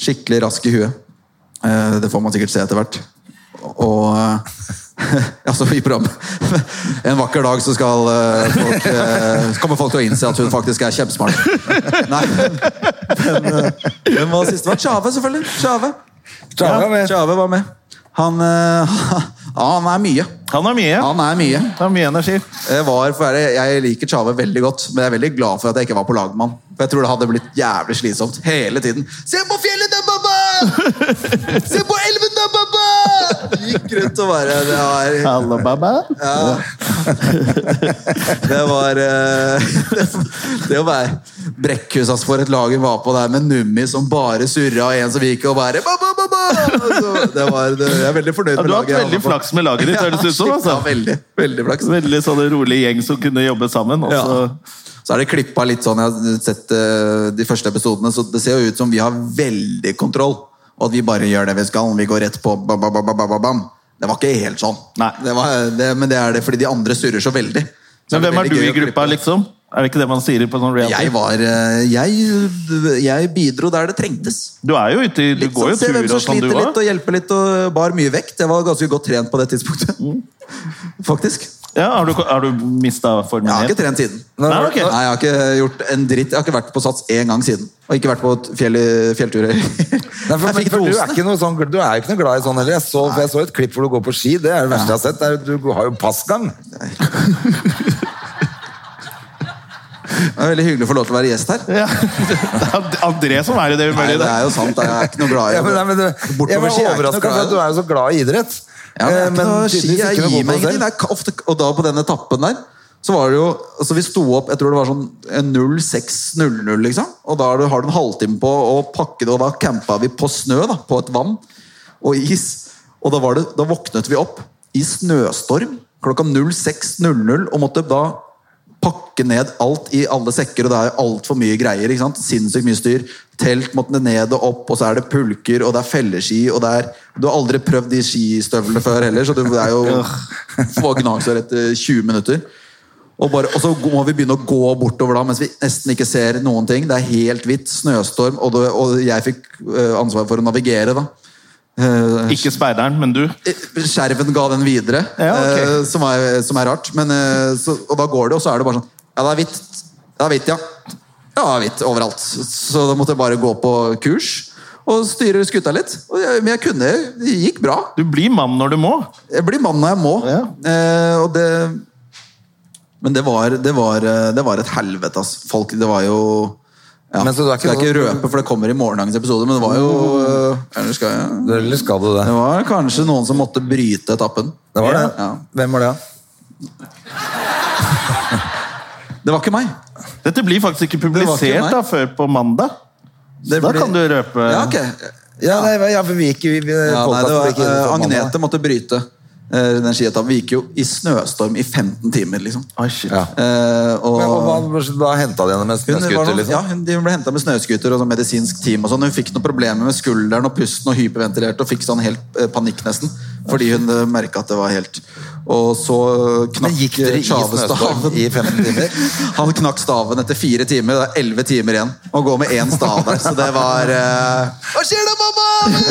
Skikkelig rask i huet. Eh, Det får man sikkert se etter hvert. Og eh, Altså, i programmet. En vakker dag så skal eh, folk, eh, så kommer folk til å innse at hun faktisk er kjempesmart. Nei, men eh, Hvem var siste? Det var Tjave, selvfølgelig. Tjave. Tjave var med. Tjave var med. Han, eh, han er mye. Han har mye. Han er mye. Han har mye energi. Jeg, var, for jeg, jeg liker Tjave veldig godt, men jeg er veldig glad for at jeg ikke var på lag med han. For jeg tror det hadde blitt jævlig slitsomt hele tiden. Se på fjellet der, pappa! Se på elven der, pappa! Gikk rundt og bare Det var, Hallo, baba. det, var eh, det, det å være Brekkhus altså, for et lag hun var på der med Nummi som bare surra, og en som gikk og bare «Ba, ba, ba, ba!» Og så, det var, det, Jeg er veldig fornøyd Ja, med du har laget. hatt veldig flaks med laget ditt, høres det ut som. Ja, Altså. veldig, veldig flaks. Veldig sånn rolig gjeng som kunne jobbe sammen. altså. Og så Så er det klippa litt sånn, jeg har sett eh, de første episodene, så det ser jo ut som vi har veldig kontroll. Og at vi bare gjør det vi skal. Vi går rett på bam, bam, bam, bam, bam, bam. Det var ikke helt sånn. Nei. Det var, det, men det er det fordi de andre surrer så veldig. Men Så det hvem er du veldig gøy i å gruppa, klippe. liksom? Er det ikke det man sier på sånn Jeg reality? var eh, jeg, jeg bidro der det trengtes. Du er jo ute i Du Litt går jo sånn, se hvem turer og som sånn, du sliter litt òg. og hjelper litt og bar mye vekt. Jeg var ganske godt trent på det tidspunktet. Mm. Faktisk. Ja, har du, har du mista formen Jeg har ikke helt? trent siden. Nei, ok. Nei, jeg har ikke gjort en dritt. Jeg har ikke vært på Sats én gang siden. Og ikke vært på et fjell, fjelltur. Nei, for, Jeg fikk men, for du, er rosene. ikke noe sånn, du er jo ikke noe glad i sånn heller. Jeg så, for jeg så et klipp hvor du går på ski. Det er det verste jeg har sett. Det er, jo- du har jo passgang. Det er veldig hyggelig å få lov til å være gjest her. Ja. Det er André som er i det Nei, humøret i det dag. er jo sant. Jeg er ikke noe glad i Ja, men, nei, men, du, jeg var Bortover ski er jeg ikke overrasket noe for glad i at du er jo så glad i idrett. Ja, men, det er Eh, ikke noe ski, tydeligvis jeg ikke noe gir god meg på det ingenting. Det er ikke ofte, og da på den etappen der, så var det jo altså Vi sto opp jeg tror det var sånn en 06.00, liksom. Og da har du, har du en halvtime på å pakke det, og da campa vi på snø, da, på et vann og is. Og da, var det, da våknet vi opp i snøstorm klokka 06.00 og måtte da pakke ned alt i alle sekker, og det er jo altfor mye greier. ikke sant? Sinnssykt mye styr. Telt måtte ned og opp, og så er det pulker, og det er felleski, og det er Du har aldri prøvd de skistøvlene før heller, så du det er jo få gnagsår etter 20 minutter. Og, bare, og så må vi begynne å gå bortover da, mens vi nesten ikke ser noen ting. Det er helt hvitt, snøstorm, og, det, og jeg fikk eh, ansvar for å navigere, da. Ikke speideren, men du. Skjerven Eh, ga den videre, Ja, ok. eh, som, er, som er rart. Men, eh, så, og da går det, og så er det bare sånn Ja, det er hvitt. Det er hvitt, ja. Ja, det er hvitt overalt. Så da måtte jeg bare gå på kurs og styre skuta litt. Og jeg, men jeg kunne Det gikk bra. Du blir mann når du må. Jeg blir mann når jeg må. Ja. Eh, og det Men det var, det var, eh, det var et helvete, ass. Folk, det var jo ja. Men så du er ikke Skal jeg ikke sånn- røpe, for det kommer i morgendagens episode, men det var jo eh, eller skal jeg? der. Eller skal du Det det? var kanskje noen som måtte bryte etappen. Det var det. Ja. Hvem var det? Det var ikke meg. Dette blir faktisk ikke var ikke publisert meg. da, før på mandag. Så Det da blir- kan du røpe Ja, ok. Ja, nei, ja, for vi gikk jo vi- Ja, nei, det podcasten var, gikk inn eh, for mandag. Agnete måtte bryte eh, den skietappen. Vi gikk jo i snøstorm i 15 timer, liksom. Oi, shit. Ja. Eh, og, Men, og hva, hva hentet de henne med hun, var snøskuter? noe- Liksom? ja, hun de ble henta med snøskuter og sånn medisinsk team. og sånn. Hun fikk noen problemer med skulderen og pusten og hyperventilerte og fikk sånn helt eh, panikk nesten. Fordi hun merka at det var helt Og så knakk eh, Men gikk dere i snøstorm i 15 timer? Han knakk staven etter fire timer. Det er elleve timer igjen å gå med én stav der. Så det var eh, Hva skjer da, mamma?!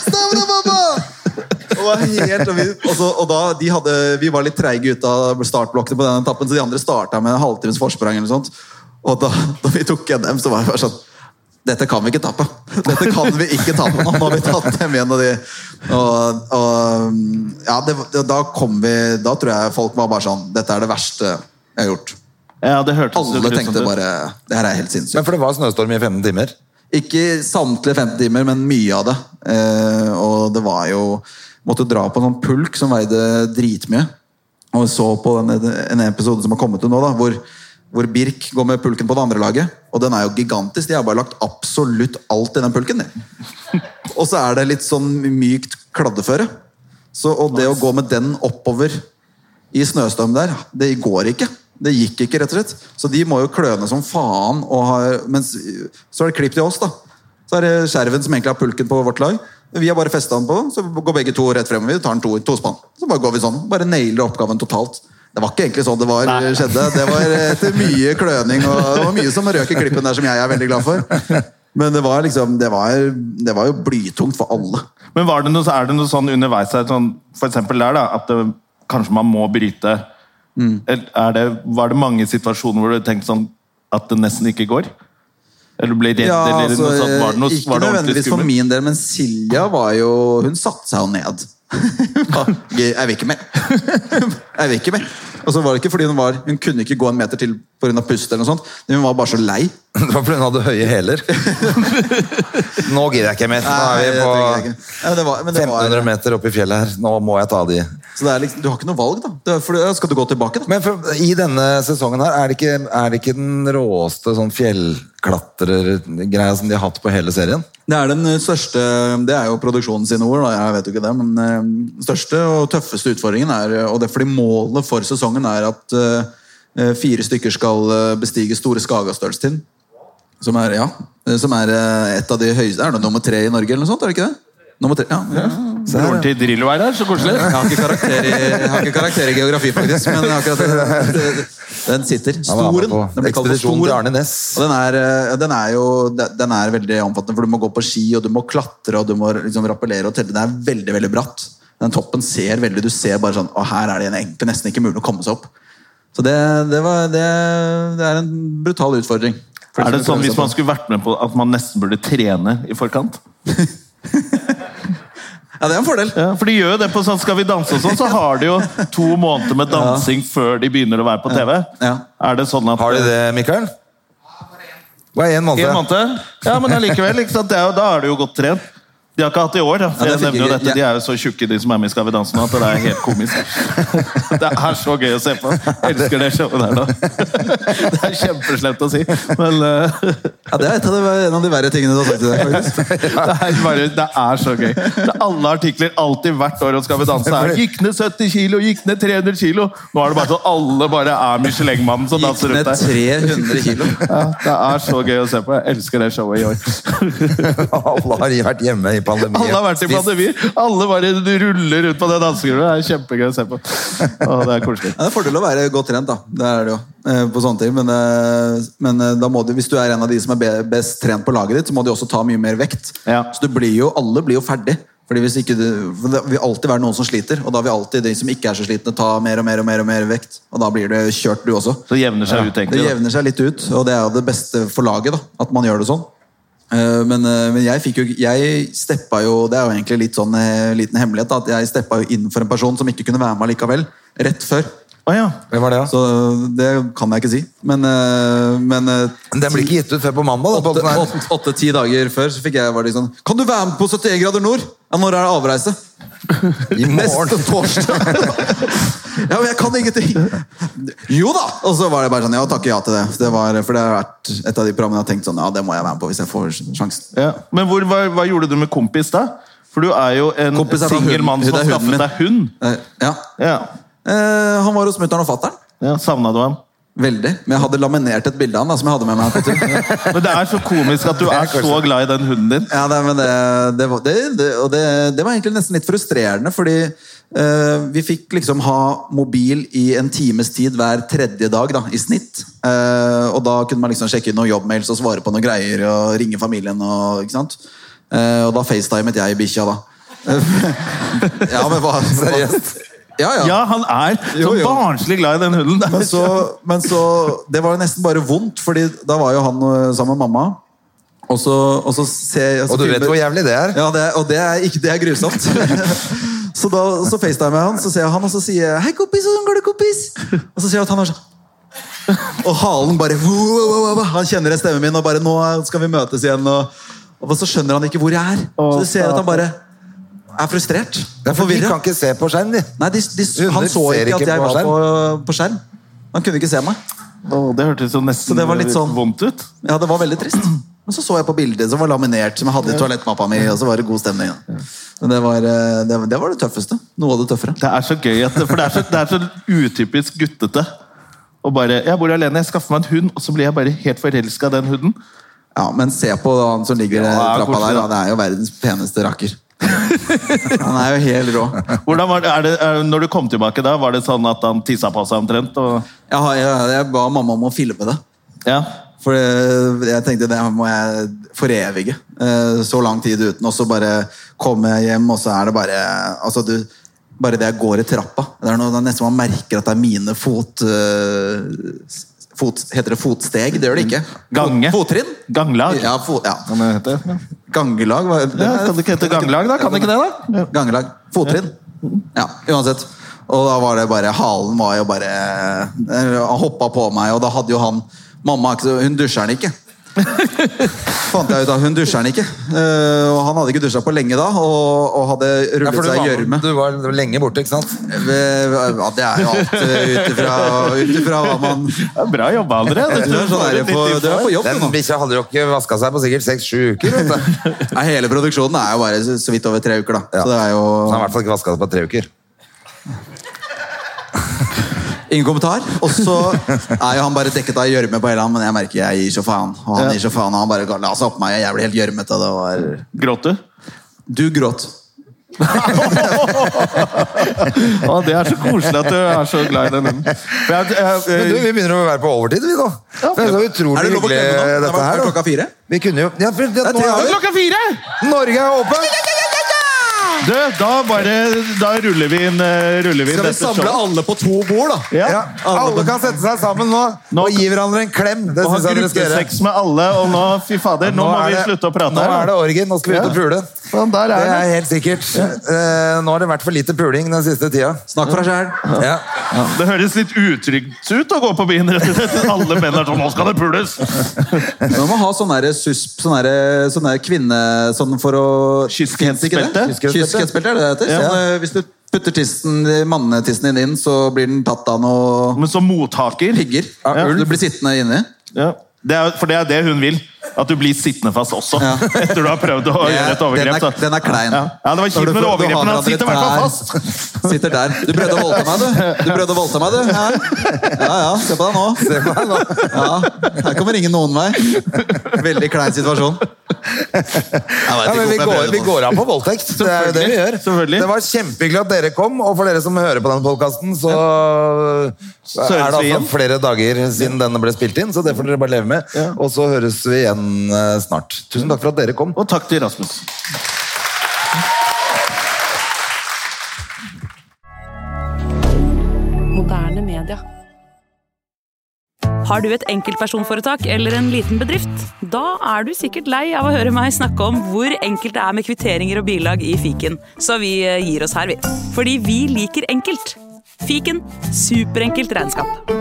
Staven da, mamma! Og, var helt, og, vi, og, så, og da, de hadde, Vi var litt treige ut av startblokkene på den etappen, så de andre starta med en halvtimes forsprang. eller noe sånt. Og da, da vi tok igjen dem, så var det bare sånn dette kan vi ikke tape. Dette kan vi ikke tape nå. Nå har vi tatt dem igjen. Og de, og, og, ja, det, var- da kom vi Da tror jeg folk var bare sånn Dette er det verste jeg har gjort. Ja, det hørtes jo Alle grusomt tenkte ut. bare Det her er helt sinnssykt. Men for det var snøstorm i 15 timer. Ikke samtlige 50 timer, men mye av det. Eh, og det var jo Måtte dra på en sånn pulk som veide dritmye. Og så på den, en episode som har kommet ut nå, da, hvor, hvor Birk går med pulken på det andre laget. Og den er jo gigantisk. De har bare lagt absolutt alt i den pulken. De. Og så er det litt sånn mykt kladdeføre. Så, og det å gå med den oppover i snøstorm der, det går ikke. Det gikk ikke, rett og slett. Så de må jo kløne som faen. Og har, mens, så er det klipp til oss, da. Så er det skjerven som egentlig har pulken på vårt lag. Vi har bare festa den på, så går begge to rett frem. Vi tar den to, to spann. Så bare går vi sånn. Bare nailer oppgaven totalt. Det var ikke egentlig sånn det var, skjedde. Det var eh, etter mye kløning og det var mye som røk i klippen der, som jeg er veldig glad for. Men det var liksom Det var, det var jo blytungt for alle. Men var det noe, så er det noe sånn underveis her, sånn, for eksempel der da, at det, kanskje man må bryte? Mm. Eller Er det, var det mange situasjoner hvor du tenkte sånn at det nesten ikke går? Eller du ble redd? eller noe sånt? Var det noe, altså, ikke var det ordentlig nødvendigvis for skummelt? min del, men Silja var jo Hun satte seg jo ned. jeg vil ikke mer. jeg vil ikke mer. Og så var det ikke fordi hun var Hun kunne ikke gå en meter til pga. pust, eller noe sånt. men hun var bare så lei. Det var fordi hun hadde høye hæler. Nå gidder jeg ikke mer. Nå Nei, er vi det trenger jeg på ikke. Ja, det var, men det var, 1500 meter oppe i fjellet her. Nå må jeg ta de. så det er liksom, du har ikke noe valg, da. Det er, for, da skal du gå tilbake, da? Men for, i denne sesongen her, er det ikke, er det ikke den råeste sånn fjellklatrergreia som de har hatt på hele serien? Det er den eh, største Det er jo produksjonen sine ord, da. Jeg vet jo ikke det. Men eh, den største og tøffeste utfordringen er eh, Og det er fordi målet for sesongen er at eh, fire stykker skal eh, bestige Store Skagastølstind. Som er, ja, eh, som er eh, et av de høyeste Er det nummer tre i Norge, eller noe sånt? er det ikke det? Nummer tre, ja. Det er ordentlig Drillo er her, så koselig. Jeg har, ikke karakter i, jeg har ikke karakter i geografi, faktisk, men akkurat den sitter. Han var med Storen. Den på blir kalt for ekspedisjonen til Storen. Arne Næss. Og den er, eh, den er jo den er veldig omfattende, for du må gå på ski, og du må klatre, og du må liksom rappellere og telle. Den er veldig, veldig bratt. Den toppen ser veldig Du ser bare sånn Å, her er det en egentlig nesten ikke mulig å komme seg opp. Så det, det, var, det, det er en brutal utfordring. For Er de det som sånn prøver hvis seg på man det. skulle vært med på at man nesten burde trene i forkant? Ja, det er en fordel. Ja, for de gjør jo det på sånn Skal vi danse og sånn, så har de jo to måneder med dansing før de begynner å være på TV. Ja. Er det sånn at eh, Har de det, Mikael? Hva er én En måned? måned? Ja, men allikevel. Ikke sant? Det er jo, da er du jo godt trent. De har ikke hatt det i år. Da. For Ja, det jeg nevner jo fikk jeg- dette. De er jo så tjukke, de som er med i Skal vi danse nå, at det er helt komisk. Det er så gøy å se på. Jeg elsker det showet der nå. Det er kjempeslemt å si, men eh, Ja, det er et av de, en av de verre tingene du har sagt i dag. faktisk. det er, bare, det er så gøy. Det er alle artikler, alltid hvert år om Skal vi danse her. Gikk ned 70 kilo, gikk ned 300 kilo. Nå er det bare sånn alle bare er Michelin-mannen som Gikk danser ned rundt der. 300 kilo. Ja, det er så gøy å se på. Jeg elsker det showet i år. Alle har vært hjemme i pandemien. Alle har vært i pandemi. Alle bare ruller rundt på det dansegulvet. Det er kjempegøy å se på. Å, det er koselig. Ja, det er en fordel å være godt trent, da. Det er det jo. eh, På sånne ting. Men, eh, men eh, da må du, hvis du er en av de som er be- best trent på laget ditt, så må du også ta mye mer vekt. Ja. Så du blir jo, alle blir jo ferdig. Fordi hvis ikke du, for Det vil alltid være noen som sliter, og da vil alltid de som ikke er så slitne, ta mer og mer og mer, og mer vekt. Og da blir det kjørt, du også. Så jevner seg ut, Det egentlig. da. jevner seg litt ut, og det er jo det beste for laget, da, at man gjør det sånn. Eh, Men, eh, men jeg fikk jo Jeg steppa jo Det er jo egentlig litt sånn eh, liten hemmelighet, da, at jeg steppa jo inn for en person som ikke kunne være med likevel, rett før. Å ja. Hvem var det, da? Så eh, det kan jeg ikke si. Men, eh, men eh, Den blir ikke gitt ut før på mandag. Da, åtte- på åtte- åtte-ti dager før så fikk jeg var det sånn Kan du være med på 71 grader nord? Ja, når er det avreise? I morgen. torsdag. ja, men jeg kan ingenting. Jo da! Og så var det bare sånn, ja, takke ja til det. det var, for det har vært et av de programmene jeg har tenkt sånn, ja, det må jeg være med på hvis jeg får sjansen. Ja. Men hvor, hva, hva gjorde du med kompis da? For du er jo en Kompis er da singel hunden. mann som Det er har skaffet hunden min. deg hund. Eh, Ja. Ja, Eh, han var hos mutter'n og fatter'n. ja Savna du ham? Veldig. Men jeg hadde laminert et bilde av han da, som jeg hadde med meg på tur. Men det er så komisk at du er så glad i den hunden din. Ja, det, men det, det, var- det, det, og det, det var egentlig nesten litt frustrerende, fordi eh, vi fikk liksom ha mobil i en times tid hver tredje dag, da, i snitt. Eh, og da kunne man liksom sjekke ut noen jobbmails og svare på noen greier og ringe familien. Og, ikke sant? Eh, og da facetimet jeg bikkja, da. ja, men hva? Seriøst? Ja, ja. Ja, han er så Jo, jo. barnslig glad i den hunden. Det er Men så, men så Det var jo nesten bare vondt, Fordi da var jo han eh, sammen med mamma. Og så, og så ser jeg så Og du vet filmer- hvor jævlig det er? ja, det, og det er, ikke, det er grusomt. så da så facetimer jeg han, så ser jeg han, og så sier jeg 'Hei, kompis, hvordan går det, kompis?' Og så ser jeg at han er sånn Og halen bare «Wow, wow, wow, wow». Han kjenner igjen stemmen min, og bare 'Nå skal vi møtes igjen', og, og så skjønner han ikke hvor jeg er. Så du ser at han bare er frustrert. Ja, for de forvirret. kan ikke se på skjerm, de. Nei, de, de, Hunder han så ser ikke ikke at jeg på var skjerm. på, på skjerm. Han kunne ikke se meg. Å, det hørtes jo nesten Så det var litt sånn- vondt ut. Ja, det var veldig trist. Men så så jeg på bildet som var laminert, som jeg hadde i toalettmappa mi, og så var det god stemning. da. Men det var eh, det, det, var det tøffeste. Noe av det tøffere. Det er så gøy, at, for det er så, det er så utypisk guttete. Og bare, Jeg bor alene, jeg skaffer meg en hund, og så blir jeg bare helt forelska i den hunden. Ja, Men se på han som ligger i Ja, trappa koselig, da. der. Da. Det er jo verdens peneste rakker. Han er jo helt rå. Hvordan var det, er det, er, når du kom tilbake da, var det sånn at han tissa på seg omtrent? Og, Jeg, har, jeg, jeg ba mamma om å filme det. ja. For eh, jeg tenkte det her må jeg forevige. eh, Så lang tid uten, og så bare komme hjem, og så er det bare Altså, du Bare det jeg går i trappa. Det er, noe, det er nesten man merker at det er mine fot... eh, s- fot heter det fotsteg? Det gjør det ikke. Gange. Fot, fottrinn? Ganglag. Ja, fot, Hva ja. det heter det? Gangelag? hva- Ja, kan det ikke hete ganglag, da? Kan det ikke det, da? Gangelag. Fottrinn. Ja, uansett. Og da var det bare Halen var jo bare eh, Han hoppa på meg, og da hadde jo han Mamma er ikke så- hun dusjer han ikke. Fant jeg ut av, Hun dusjer han ikke. Eh, og han hadde ikke dusja på lenge da, og, og hadde Ja, rullet for du, seg i var, gjørme. du var lenge borte, ikke sant? Eh, Ja, det er jo alt eh, ut ifra- ut ifra hva man Ja, bra jobba, André. Du er, sånn der på, du er på jobb, du Den nå. bikkja hadde jo ikke vaska seg på sikkert seks-sju uker. Vet du. Nei, hele produksjonen er jo bare så så vidt over tre uker, da. Ja. Så det er Så han har i jo hvert fall ikke vaska seg på tre uker. Ingen kommentar. Og så er jo han bare dekket av gjørme på hele han, men jeg merker jeg gir så faen. Og han gir så faen, og han bare la seg oppå meg, og jeg ble helt gjørmete. og Det var Gråt du? Du gråt. Å, det er så koselig at du er så glad i den hunden. For jeg- jeg- jeg- Men du, vi begynner å være på overtid, vi nå. Det er så Eh, utrolig Er det lov å hyggelig, eh, klemme nå? Det dette var her. da. klokka fire. Vi kunne jo ja, for, det, er nå tre er Klokka fire! jo- Norge er åpen! Du, da bare Da ruller vi inn, eh, ruller vi inn Skal vi dette samle showet. alle på to bord, da? Ja. Ja, alle kan sette seg sammen nå Nå- og gi hverandre en klem. Det Og ha synes jeg dere skal gjøre. gruppesex med alle, og nå Fy fader, nå, må er vi det- slutte å prate Nå her. er det orgen. Nå skal vi ut og pule. Sånn, der Det er er det. helt sikkert. Eh, Nå har det vært for lite puling den siste tida. Snakk for deg sjæl. Ja. Det høres litt utrygt ut å gå på byen. rett og slett. Alle menn er sånn 'Nå skal det pules!' Du må ha sånn derre susp, sånn derre- sånn derre kvinne... Sånn for å Kyskhetsbelte? Kyskhetsbelte, er det det heter? Ja. Sånn, eh, hvis du putter tissen, mannetissen din inn, så blir den tatt av noe Men som mottaker pigger. Ja. Du blir sittende inni. ja. det er, For det er det hun vil. At du blir sittende fast også. Ja. Etter du har prøvd å Det gjøre er- et overgrep. den er- så- den er klein. Ja, ja det var Når kjipt du med det får- du overgrepet, har men han sitter i hvert fall fast. hverandre der. Sitter der. Du prøvde å voldta meg, du. Du prøvde å voldta meg, du. Ja, ja. ja se på deg nå. Ja, her kommer ingen noen vei. Veldig klein situasjon. Ja, men vi, går, vi går av på voldtekt. Det er jo det vi gjør. Selvfølgelig, selvfølgelig. Det var kjempehyggelig at dere kom, og for dere som hører på denne podkasten, så høres er det vi altså igjen. flere dager siden denne ble spilt inn, så det får dere bare leve med. Og så høres vi igjen eh, snart. Tusen takk for at dere kom. Og takk til Rasmus. Moderne media. Har du et enkeltpersonforetak eller en liten bedrift? Da er du sikkert lei av å høre meg snakke om hvor enkelt det er med kvitteringer og bilag i fiken, så vi eh, gir oss her, vi. Fordi vi liker enkelt. Fiken superenkelt regnskap.